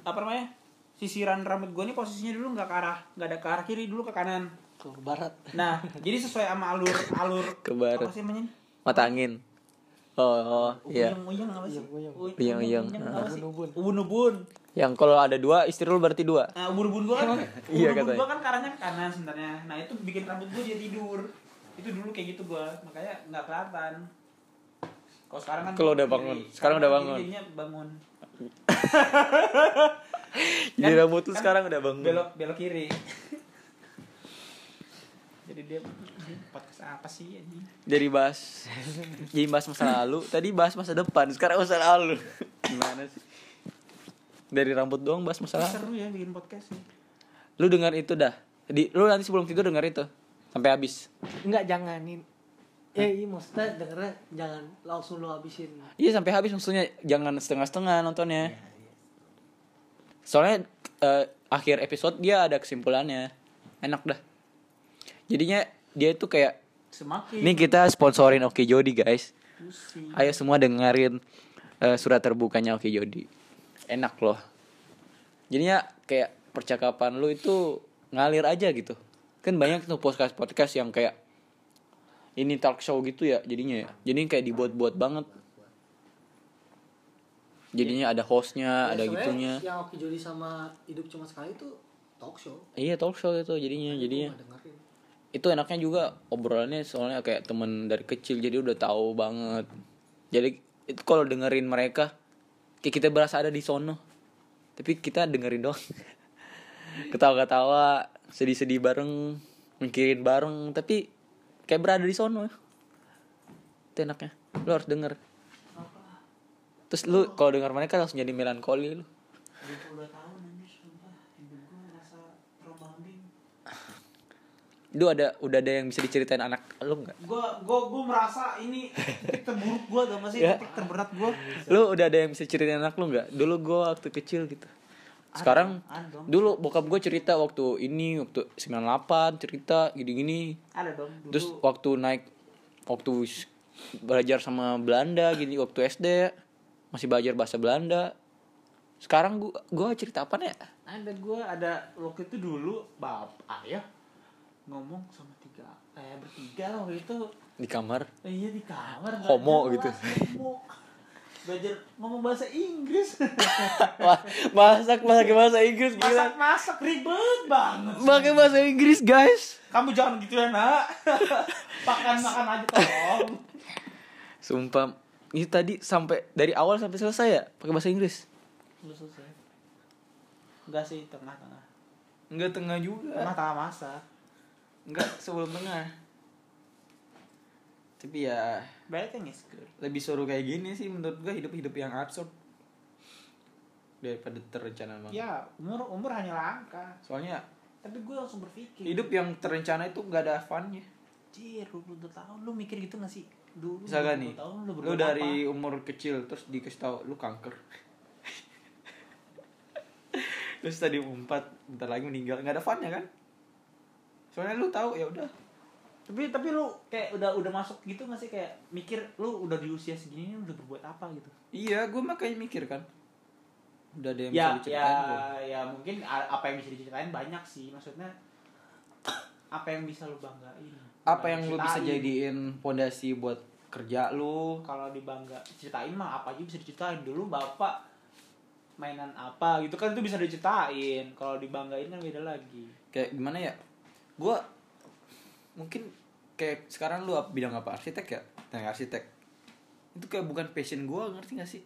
apa namanya sisiran rambut gue ini posisinya dulu nggak ke arah nggak ada ke arah kiri dulu ke kanan
ke barat
nah jadi sesuai sama alur alur
Ke barat.
apa sih namanya
mata angin oh, oh iya Nah.
uyang uyang apa sih
Uyang-uyang.
Uy-
Uyang-uyang.
apa sih
Ubun-ubun.
ubun ubun
yang kalau ada dua istri lu berarti dua
nah ubun ubun gue kan
Iya,
ubun ubun
katanya.
gue kan karanya ke kanan sebenarnya nah itu bikin rambut gue jadi tidur itu dulu kayak gitu gue makanya nggak kelihatan kalau sekarang kan
Kalau udah
kiri.
bangun. Sekarang udah bangun.
kiri jadinya bangun
jadi rambut lu
kan
sekarang udah bangun
belok belok kiri jadi dia podcast apa sih ini
jadi bahas jadi bahas masa lalu tadi bahas masa depan sekarang masa lalu gimana sih dari rambut doang bahas masa lalu
seru ya bikin podcast nih
lu dengar itu dah di lu nanti sebelum tidur dengar itu sampai habis
nggak janganin eh iya maksudnya dengernya jangan langsung lo habisin
iya sampai habis maksudnya jangan setengah-setengah nontonnya soalnya eh, akhir episode dia ada kesimpulannya enak dah jadinya dia itu kayak
semakin
ini kita sponsorin Oke Jody guys
pusing
ayo semua dengerin eh, surat terbukanya Oke Jody enak loh jadinya kayak percakapan lu itu ngalir aja gitu kan banyak tuh podcast podcast yang kayak ini talk show gitu ya jadinya ya jadi kayak dibuat-buat banget jadinya ada hostnya ada
Ya, sebenarnya
gitunya
yang Oki Jody sama hidup cuma sekali itu talk show
iya talk show itu jadinya jadinya
Gua nggak dengerin
itu enaknya juga obrolannya soalnya kayak temen dari kecil jadi udah tahu banget jadi itu kalau dengerin mereka kayak kita berasa ada di sono tapi kita dengerin doang ketawa-ketawa sedih-sedih bareng mikirin bareng tapi kayak berada di sono itu enaknya lu harus denger terus lu kalau denger mereka langsung jadi melankoli lu
22 tahun anjir sumpah hidup gue ngerasa terombang-ambing
lu ada udah ada yang bisa diceritain anak lu nggak
gue gue gue merasa ini titik terburuk gue tau gak sih
Ya.
titik terberat gue
lu udah ada yang bisa ceritain anak lu nggak dulu gua waktu kecil gitu sekarang
ada dong.
dulu bokap gue cerita waktu ini waktu 98 cerita gini-gini
ada dong dulu
terus waktu naik waktu s- belajar sama Belanda gini waktu SD masih belajar bahasa Belanda sekarang gua gua cerita apa ya
ada gue ada waktu itu dulu bab ayah ngomong sama tiga eh bertiga lah waktu itu
di kamar
Eh, iya di kamar nggak
Homo
jelas,
gitu.
homo. belajar ngomong bahasa Inggris
Wah, masak pakai bahasa Inggris gila
masak masak ribet banget
pakai bahasa Inggris guys
kamu jangan gitu ya nak makan makan aja tolong
sumpah ini tadi sampai dari awal sampai selesai ya pakai bahasa Inggris
lu selesai enggak sih tengah tengah
Enggak tengah juga
tengah tengah masak
Enggak, sebelum tengah. Tapi ya
Everything is good.
lebih seru kayak gini sih menurut gue hidup-hidup yang absurd daripada terencana banget.
Ya, umur umur hanya langkah.
Soalnya
Tapi gue langsung berpikir.
hidup yang terencana itu gak ada funnya.
Anjir, 22 tahun lu mikir gitu gak sih? Dulu
Misalkan
22
nih,
tahun lu,
lu
berbuat
dari
apa?
umur kecil terus dikasih tahu lu kanker. terus tadi umpat bentar lagi meninggal nggak ada funnya kan? Soalnya lu tahu ya udah
tapi tapi lu kayak udah udah masuk gitu nggak sih kayak mikir lu udah di usia segini ini udah berbuat apa gitu
Iya, gue makanya mikir kan. Udah ada yang
ya
bisa
ya
diceritain gua.
ya mungkin a- apa yang bisa diceritain banyak sih maksudnya apa yang bisa lu banggain
Apa
Bukan
yang lu bisa
ceritain.
jadiin pondasi buat kerja lu?
kalau dibangga ceritain mah apa aja bisa diceritain dulu bapak mainan apa gitu kan itu bisa diceritain kalau dibanggain kan beda lagi
Kayak gimana ya? Gue mungkin kayak sekarang lu ap- bidang apa arsitek ya? Nah, arsitek. Itu kayak bukan passion gue, ngerti gak sih?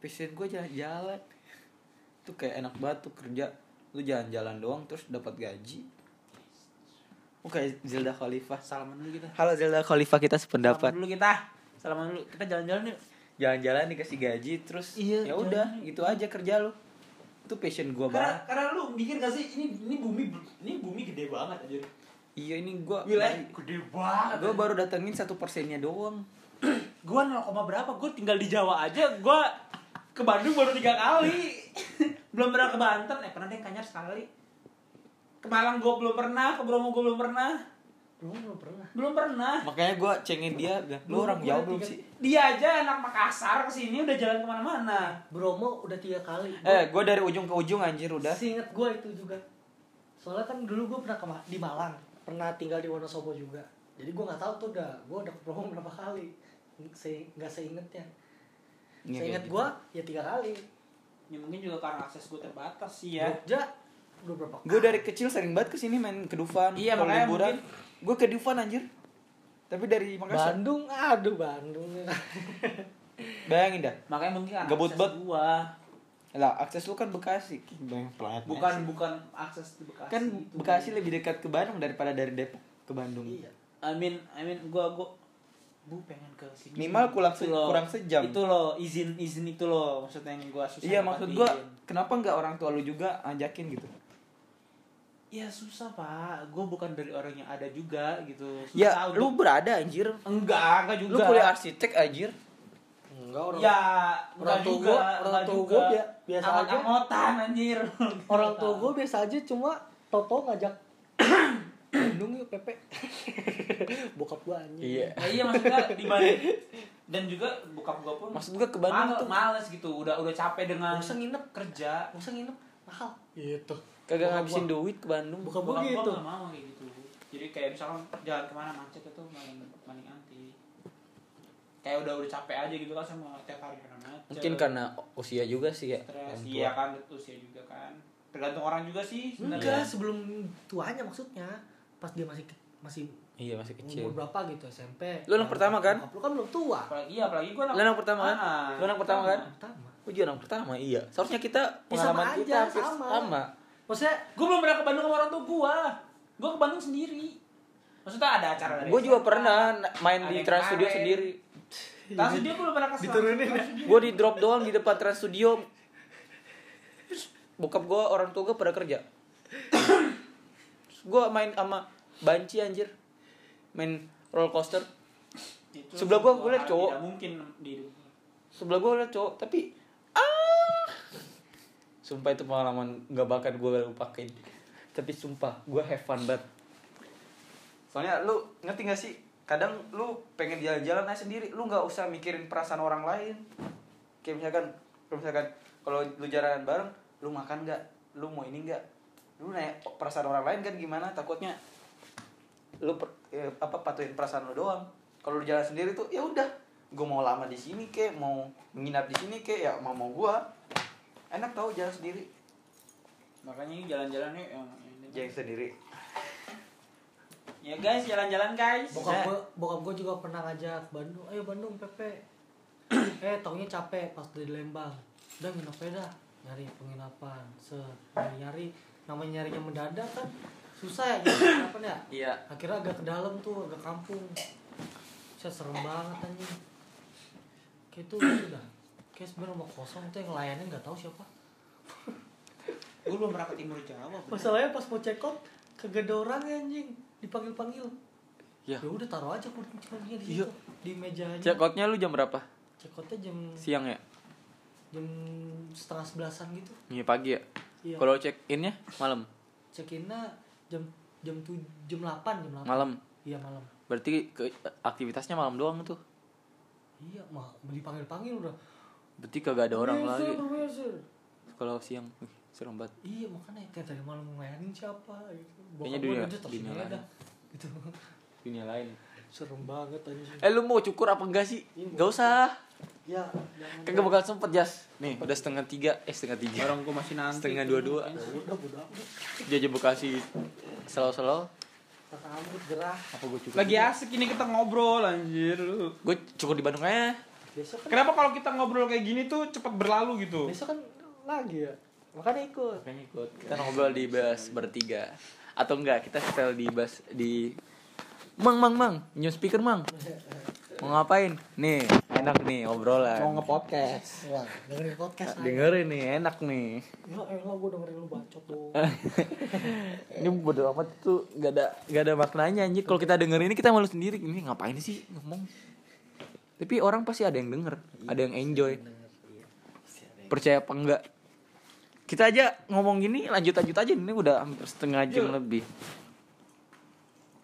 Passion gue jalan-jalan. Itu kayak enak banget tuh kerja. Lu jalan-jalan doang terus dapat gaji. Oke, Zelda Khalifah.
salaman dulu kita
Halo Zelda Khalifah kita sependapat.
salaman dulu kita salaman dulu kita jalan-jalan yuk
jalan-jalan dikasih gaji terus
Iya,
ya udah
jalan-jalan.
gitu aja kerja lu itu passion gua
karena,
banget
karena lu mikir gak sih ini ini bumi ini bumi gede banget aja
iya ini gua
wilayah gede banget
gua baru datengin satu persennya doang
gua 0, koma berapa gua tinggal di Jawa aja gua ke Bandung baru tiga kali belum pernah ke Banten eh pernah deh kanyar sekali ke Malang gua belum pernah ke Bromo gua belum pernah
Lu belum pernah.
belum pernah
makanya gua cengin dia dah, lu
Lu-
orang
gua
Jawa
ada
belum
tiga-
sih
dia aja anak Makassar kesini udah jalan kemana-mana
Bromo udah tiga kali.
eh gua dari ujung ke ujung anjir udah
Seinget gue itu juga. Soalnya kan dulu gue pernah ke Ma- di Malang, pernah tinggal di Wonosobo juga. Jadi gue nggak tahu tuh udah, gue udah ke Bromo berapa kali. Se nggak seingetnya.
Iya,
Seinget
kayak
gue ya tiga kali.
ya mungkin juga karena akses gua terbatas sih ya
Jogja udah berapa kali?
Iya. gua dari kecil sering banget kesini main ke Dufan
Iya,
kalau
makanya
liburan gua ke Dufan anjir tapi dari Makassar
Bandung, aduh Bandung.
bayangin dah
makanya mungkin karena
Gebut
akses
bet.
gua
lah akses lu kan Bekasi
bukan bukan akses di Bekasi
Iya kan
itu.
Bekasi lebih dekat ke Bandung daripada dari Depok ke Bandung
iya.
I mean, I mean, gua gua bu pengen ke sini.
Minimal kurang se-
Itu loh.
kurang sejam.
Itu loh izin izin itu loh maksudnya yang gua susah.
Iya
dapat
maksud gua
izin.
kenapa nggak orang tua lu juga ajakin gitu?
Iya susah pak. Gua bukan dari orang yang ada juga gitu. Susah
Ya
untuk-
lu berada anjir.
enggak enggak
Lu
juga.
kuliah arsitek anjir.
Enggak orang.
Ya enggak
Orang tua
juga.
gua- orang
enggak
tua
juga.
gua bi- biasa
Amat-
aja.
Amatan anjir.
Orang tua gue biasa aja cuma Toto ngajak Bandung yuk Pepe. Bokap gue anjing.
Ya, iya maksudnya dibanding dan juga bokap gua pun
Maksud gua ke Bandung
males,
tuh.
males gitu. Udah udah capek dengan
Bosen nginep.
kerja.
Masa nginep mahal. Gitu.
Kagak
Bokap
ngabisin
gua-
duit ke Bandung.
Bokap gue
Bokap gua
gitu.
nggak mau kayak gitu jadi kayak misalkan jalan kemana macet itu maling maling anti kayak udah udah capek aja gitu kan sama tiap hari kena macet
Mungkin kan, karena usia juga sih ya.
stres
orang tua.
iya kan usia juga kan tergantung orang juga sih
Enggak,
ya?
sebenarnya
sebelum tuanya maksudnya. Pas dia masih ke- masih
Iya masih kecil.
umur berapa gitu SMP.
Lu anak pertama kan?
Bokap Lu kan belum tua.
apalagi iya apalagi gua
Lu anak pertama kan?
Ah,
Lu anak pertama kan?
Pertama.
Gua juga anak pertama, iya. Seharusnya kita
Ya, sama
pengalaman
aja,
kita hampir
sama.
sama.
Maksudnya
gua belum pernah ke Bandung sama orang tua gua gua ke Bandung sendiri maksudnya ada acara dari
Gua juga
SMA.
pernah na- main
Ada
di
yang
Trans Studio
kemarin.
sendiri.
Trans Studio gua belum pernah ke
Diturunin ya?
Gua di drop doang di depan Trans Studio. Bokap gua orang tua gua pada kerja. Terus gua main sama banci anjir. Main roller coaster.
Itu
Sebelah gua-
sebuah
gua liat
hal
cowok.
tidak mungkin di hidup gua.
sebelah gue ada cowok tapi ah sumpah itu pengalaman nggak bakal gue lupain tapi sumpah gue have fun banget
Soalnya lu ngerti gak sih? Kadang lu pengen jalan-jalan aja sendiri, lu nggak usah mikirin perasaan orang lain. Kayak misalkan, kalau misalkan kalau lu jalanan bareng, lu makan nggak? Lu mau ini nggak? Lu nanya perasaan orang lain kan gimana? Takutnya lu per- eh, apa patuhin perasaan lu doang. Kalau lu jalan sendiri tuh ya udah, gue mau lama di sini kek, mau menginap di sini kek, ya mau mau gua. Enak tau jalan sendiri.
makanya ini jalan-jalan yuk yang ini.
Jalan sendiri.
ya guys jalan-jalan guys
bokap
Saya-
gue bokap gue juga pernah ngajak Bandung ayo Bandung Pepe eh taunya capek pas dari Lembang udah nginep aja dah nyari penginapan se nyari, nyari namanya nyarinya mendadak kan susah ya nyari penginapan ya
Iya.
akhirnya agak ke dalam tuh agak kampung saya serem banget anjing kayak itu udah kayak sebenarnya rumah kosong tuh yang layannya nggak tahu siapa
gue belum pernah ke timur Jawa bener.
masalahnya pas mau check out kagak ada orang ya, anjing dipanggil panggil
Iya.
ya udah taruh aja kunci kuncinya di situ di mejanya
outnya lu jam berapa
Cekotnya jam
siang ya
jam setengah sebelasan gitu.
iya pagi ya
Iya.
check innya malam
Cekinnya jam jam tuj jam 8 jam 8
Malam.
iya malam
Berarti ke- aktivitasnya malam doang tuh.
iya mah dipanggil panggil udah
Berarti kagak ada orang
Profesor,
lagi.
profesor.
Kalau siang, wih, serem banget.
iya makanya kayak tadi malam ngelayanin siapa gitu
Kayaknya
Bokap gua
dunia-
lanjut, terus
dunia
ini
lain.
ada. gitu
Dunia lain.
serem banget anjing
Eh lu mau cukur apa enggak sih? Gak usah.
ya jangan
Kagak bakal sempet jas. Nih udah setengah tiga, eh setengah tiga.
Orang gua masih nanti.
Setengah dua-dua.
Ya udah udah udah
Jajah Bekasi selalu-selalu.
kata rambut gerah
Apa gue cukur?
Lagi asik ini kita ngobrol anjir lu.
Gue cukur di Bandung aja.
besok kan
Kenapa kalau kita ngobrol kayak gini tuh cepet berlalu gitu?
besok kan lagi ya makanya ikut
Kita ngobrol di bus bertiga. Atau enggak kita setel di bus di Mang mang mang, new speaker mang. Mau ngapain? Nih, enak nih obrolan.
Mau nge-podcast.
Wah, dengerin podcast aja.
Dengerin nih, enak nih.
Ya elah gue dengerin lu bacot tuh.
Eh. ini bodo amat tuh gak ada gak ada maknanya anjir kalau kita denger ini kita malu sendiri ini ngapain sih ngomong tapi orang pasti ada yang denger ada yang enjoy percaya apa enggak kita aja ngomong gini lanjut lanjut aja ini udah hampir setengah jam lebih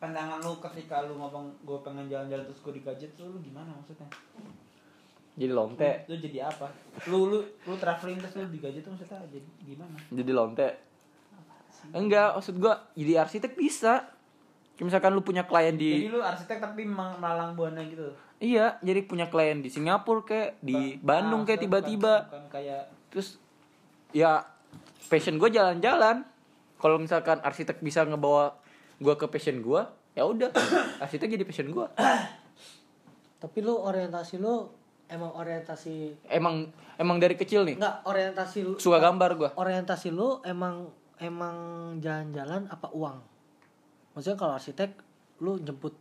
Pandangan lu ketika lu ngomong gue pengen jalan-jalan terus gue digajet tuh lu gimana maksudnya?
jadi lonte
Lu jadi apa? Lu lu lu traveling terus lu digajet tuh maksudnya jadi gimana?
jadi lonte enggak maksud gua jadi arsitek bisa Kayak misalkan lu punya klien
Jadi
di
lu arsitek tapi mel- melalang buana gitu.
iya jadi punya klien di Singapura kayak di Bandung kayak
maksudnya bukan-
tiba-tiba
bukan kayak
terus ya passion gue jalan-jalan kalau misalkan arsitek bisa ngebawa gue ke passion gue ya udah arsitek jadi passion gue
Tapi lu orientasi lu emang orientasi
emang emang dari kecil nih
enggak orientasi lu
suka gambar gue
orientasi lu emang emang jalan-jalan apa uang? Maksudnya kalau arsitek lu jemput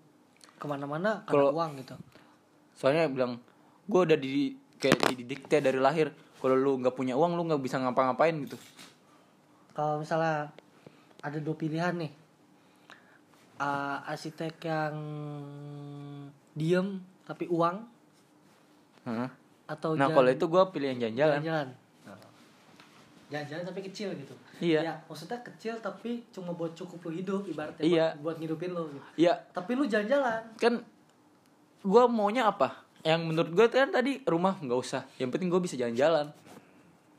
kemana-mana karena
Kalau-
uang gitu.
soalnya bilang gue udah di kayak didikte dari lahir kalau lu nggak punya uang lu nggak bisa ngapa-ngapain gitu
Kalau misalnya ada dua pilihan nih, Ah, arsitek yang diem tapi uang
Heeh.
atau
nah
Oh, jalan-
kalau itu gue pilih yang jalan-jalan
jalan-jalan jalan-jalan tapi kecil gitu
Iya.
Ya, maksudnya kecil tapi cuma buat cukup lu hidup ibaratnya
Iya.
buat, buat ngidupin lu gitu.
ya
tapi lu jalan-jalan
kan gue maunya apa yang menurut gue kan tadi rumah nggak usah yang penting gue bisa jalan-jalan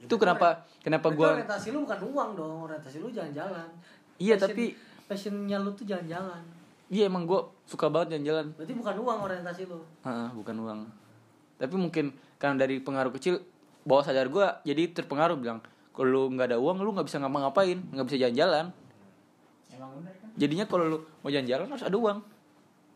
itu kenapa kenapa
Berarti
gue
orientasi lu bukan uang dong orientasi lu jalan-jalan
Iya,
Passion-
tapi-
passionnya lu tuh jalan-jalan
Iya emang gue suka banget jalan-jalan
berarti bukan uang orientasi lu
Heeh, Bukan uang Tapi mungkin karena dari pengaruh kecil Bawah sadar gue jadi terpengaruh bilang Kalau lu gak ada uang lu gak bisa ngapa-ngapain Gak bisa jalan-jalan
emang bener kan?
Jadinya kalau lu mau jalan-jalan harus ada uang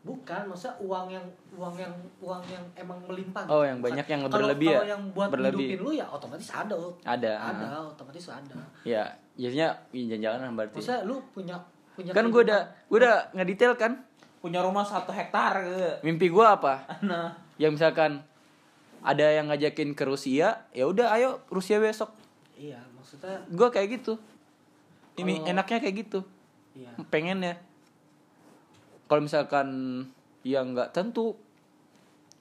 bukan maksudnya uang yang uang yang uang yang emang melimpah gitu.
Oh, yang banyak yang
Kalau-
berlebih
kalau
ya?
yang buat
Berlebih. Ah.
hidupin lu ya otomatis ada
Ada.
ada otomatis ada
Ya jadinya ih, jalan-jalan berarti
maksudnya lu punya punya
Kan gue udah, gue udah ngedetail kan
Punya rumah satu hektar gitu.
Mimpi gue apa
Nah,
Yang misalkan ada yang ngajakin ke Rusia ya udah ayo Rusia besok
iya maksudnya
Gue kayak gitu Ini
Kalau-
enaknya kayak gitu
iya
pengen ya kalau misalkan ya nggak tentu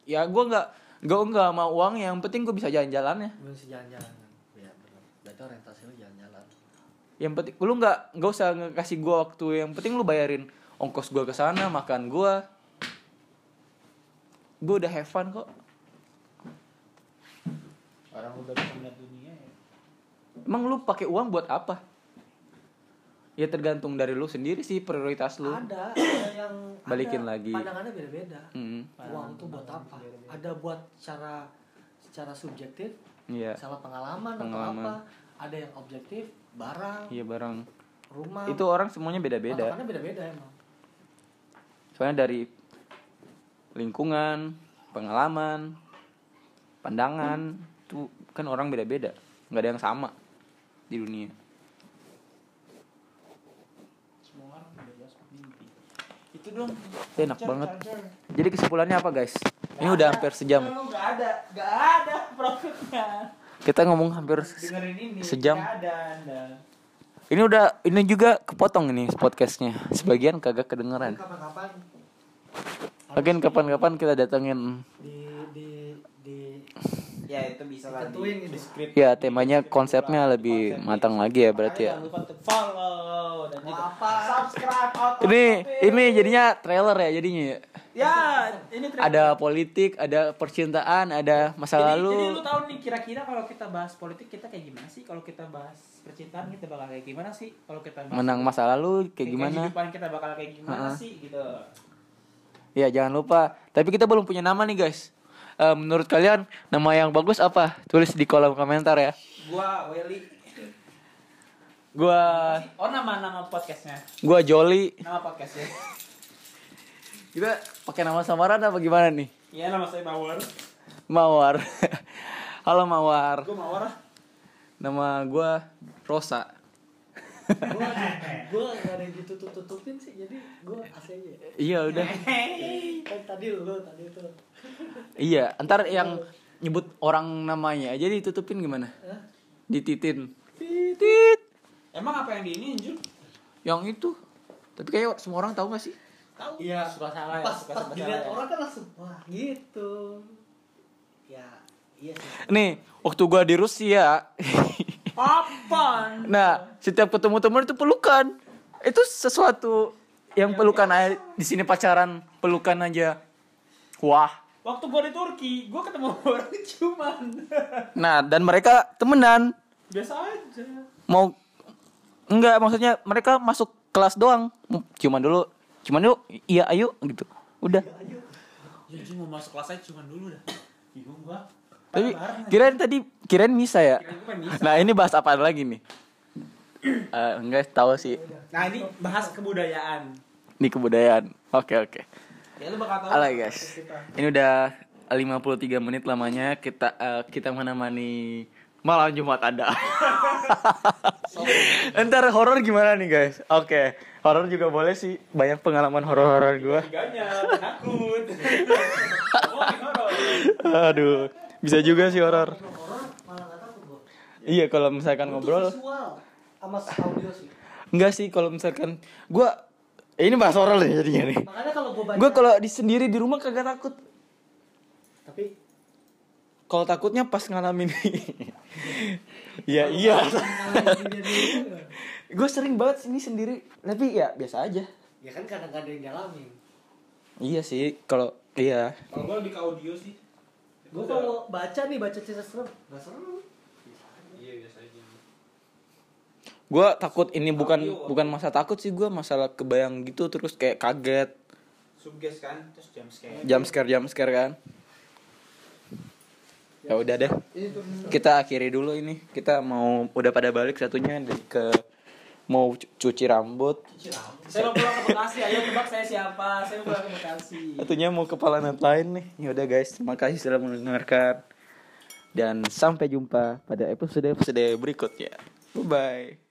ya gue nggak gue nggak mau uang yang penting gue bisa jalan-jalan ya
belum sih jalan-jalan ya benar berarti orientasi lu jalan-jalan
yang penting lu nggak nggak usah ngasih gue waktu yang penting lu bayarin ongkos gue ke sana makan gue gue udah have fun kok
orang udah bisa melihat dunia ya.
emang lu pakai uang buat apa ya tergantung dari lu sendiri sih prioritas lu
ada ada yang
Balikin
ada.
lagi.
pandangannya beda-beda
Hmm,
uang tuh buat apa ada buat cara secara subjektif
iya
salah pengalaman,
Pengalaman.
atau apa ada yang objektif barang
iya barang
rumah
itu orang semuanya beda-beda
patokannya beda-beda emang
soalnya dari lingkungan pengalaman pandangan tuh kan orang beda-beda nggak ada yang sama di dunia
Semua orang udah jelas mimpi. Itu dong.
Itu enak banget jadi kesimpulannya apa guys ini udah hampir sejam
Lu gak ada, gak ada profitnya.
kita ngomong hampir se-
Dengerin ini.
Sejam.
Gak ada anda.
ini udah ini juga kepotong ini podcastnya sebagian kagak kedengeran
kapan-kapan
Lagian kapan-kapan kita datengin
di di di
ya itu bisa lah
Tentuin gitu.
Ya temanya konsepnya lebih matang lagi ya berarti ya.
jangan lupa untuk follow dan juga
Apa?
subscribe out of
Ini
topic.
ini jadinya trailer ya jadinya. ya.
ya ini trailer.
Ada politik, ada percintaan, ada masa
jadi,
lalu.
jadi lu tahu nih kira-kira kalau kita bahas politik kita kayak gimana sih kalau kita bahas percintaan kita bakal kayak gimana sih kalau kita bahas
Menang masa lalu kayak gimana?
kehidupan kita bakal kayak gimana
Ha-ha.
sih gitu
Ya jangan lupa. Tapi kita belum punya nama nih guys. Eh, menurut kalian nama yang bagus apa? Tulis di kolom komentar ya.
gua Welly
Gua
oh nama nama podcastnya
gua Joli.
nama podcastnya
Kita pakai nama samaran apa gimana nih?
Iya nama saya Mawar
Mawar. Halo Mawar.
gua Mawar ah.
Nama gua Rosa.
Gua gue gak ada yang ditutup tutupin sih jadi gue asli aja
Iya udah.
kan tadi lu tadi itu
Iya, ntar yang nyebut orang namanya aja ditutupin gimana? Dititin. Titit.
emang apa yang di ini Jun
Yang itu. Tapi kayak semua orang tahu gak sih?
tahu
Iya.
suka salah ya
pas
suka
pas
serba salah
dilihat
ya.
orang kan langsung wah gitu ya iya sih
Nih, waktu gua di Rusia.
apaan
nah, setiap ketemu teman itu pelukan. Itu sesuatu
Ya,
yang pelukan aja di sini pacaran pelukan aja. Wah.
waktu gua di Turki gua ketemu orang cuman
Nah, dan mereka temenan.
biasa aja
Mau enggak maksudnya mereka masuk kelas doang. Cuman dulu. Cuman yuk, iya ayo gitu. Udah.
Iya, ya Jun mau masuk kelas aja cuman dulu dah bingung gua
Tapi
Bareng aja.
kirain tadi kirain misa ya.
Kirain gua pengen misa.
Nah, ini bahas apa lagi nih? Eh, enggak tahu sih
nah ini bahas kebudayaan
di kebudayaan. Oke, oke.
ya lu bakal tahu
Halo guys. Ini udah 53 menit lamanya kita eh, kita menemani malam Jumat Anda. Entar horor gimana nih guys? Oke, horor juga boleh sih. Banyak pengalaman horor-horor gua.
tiganya takut oh horor
Aduh, bisa juga sih horor.
orang malah gak takut gue
Iya, kalau misalkan ngobrol
visual sama audio sih
Enggak sih kalau misalkan gua eh, ini bahas oral nih jadinya nih.
makanya kalau gue baca
Gua kalau di sendiri di rumah kagak takut.
tapi
Kalau takutnya pas ngalamin. ya iya. Gue sering banget sini sendiri, tapi ya biasa aja.
ya kan kadang kadang yang ngalamin
Iya sih, kalau iya.
kalau gua lebih ke audio sih
gue kalau baca nih baca cerita serem gak serem
iya biasa aja
Gua takut ini bukan bukan masa takut sih gua masalah kebayang gitu terus kayak kaget.
subges kan terus jam scare
Jump scare jump scare kan. Ya udah deh. Kita akhiri dulu ini. Kita mau udah pada balik satunya dari ke mau cu- cuci rambut.
saya mau pulang ke Bekasi ayo tebak saya siapa saya mau pulang ke Bekasi
Satunya mau kepala net lain nih. Ya udah guys, terima kasih sudah mendengarkan. Dan sampai jumpa pada episode-episode berikutnya. Bye bye.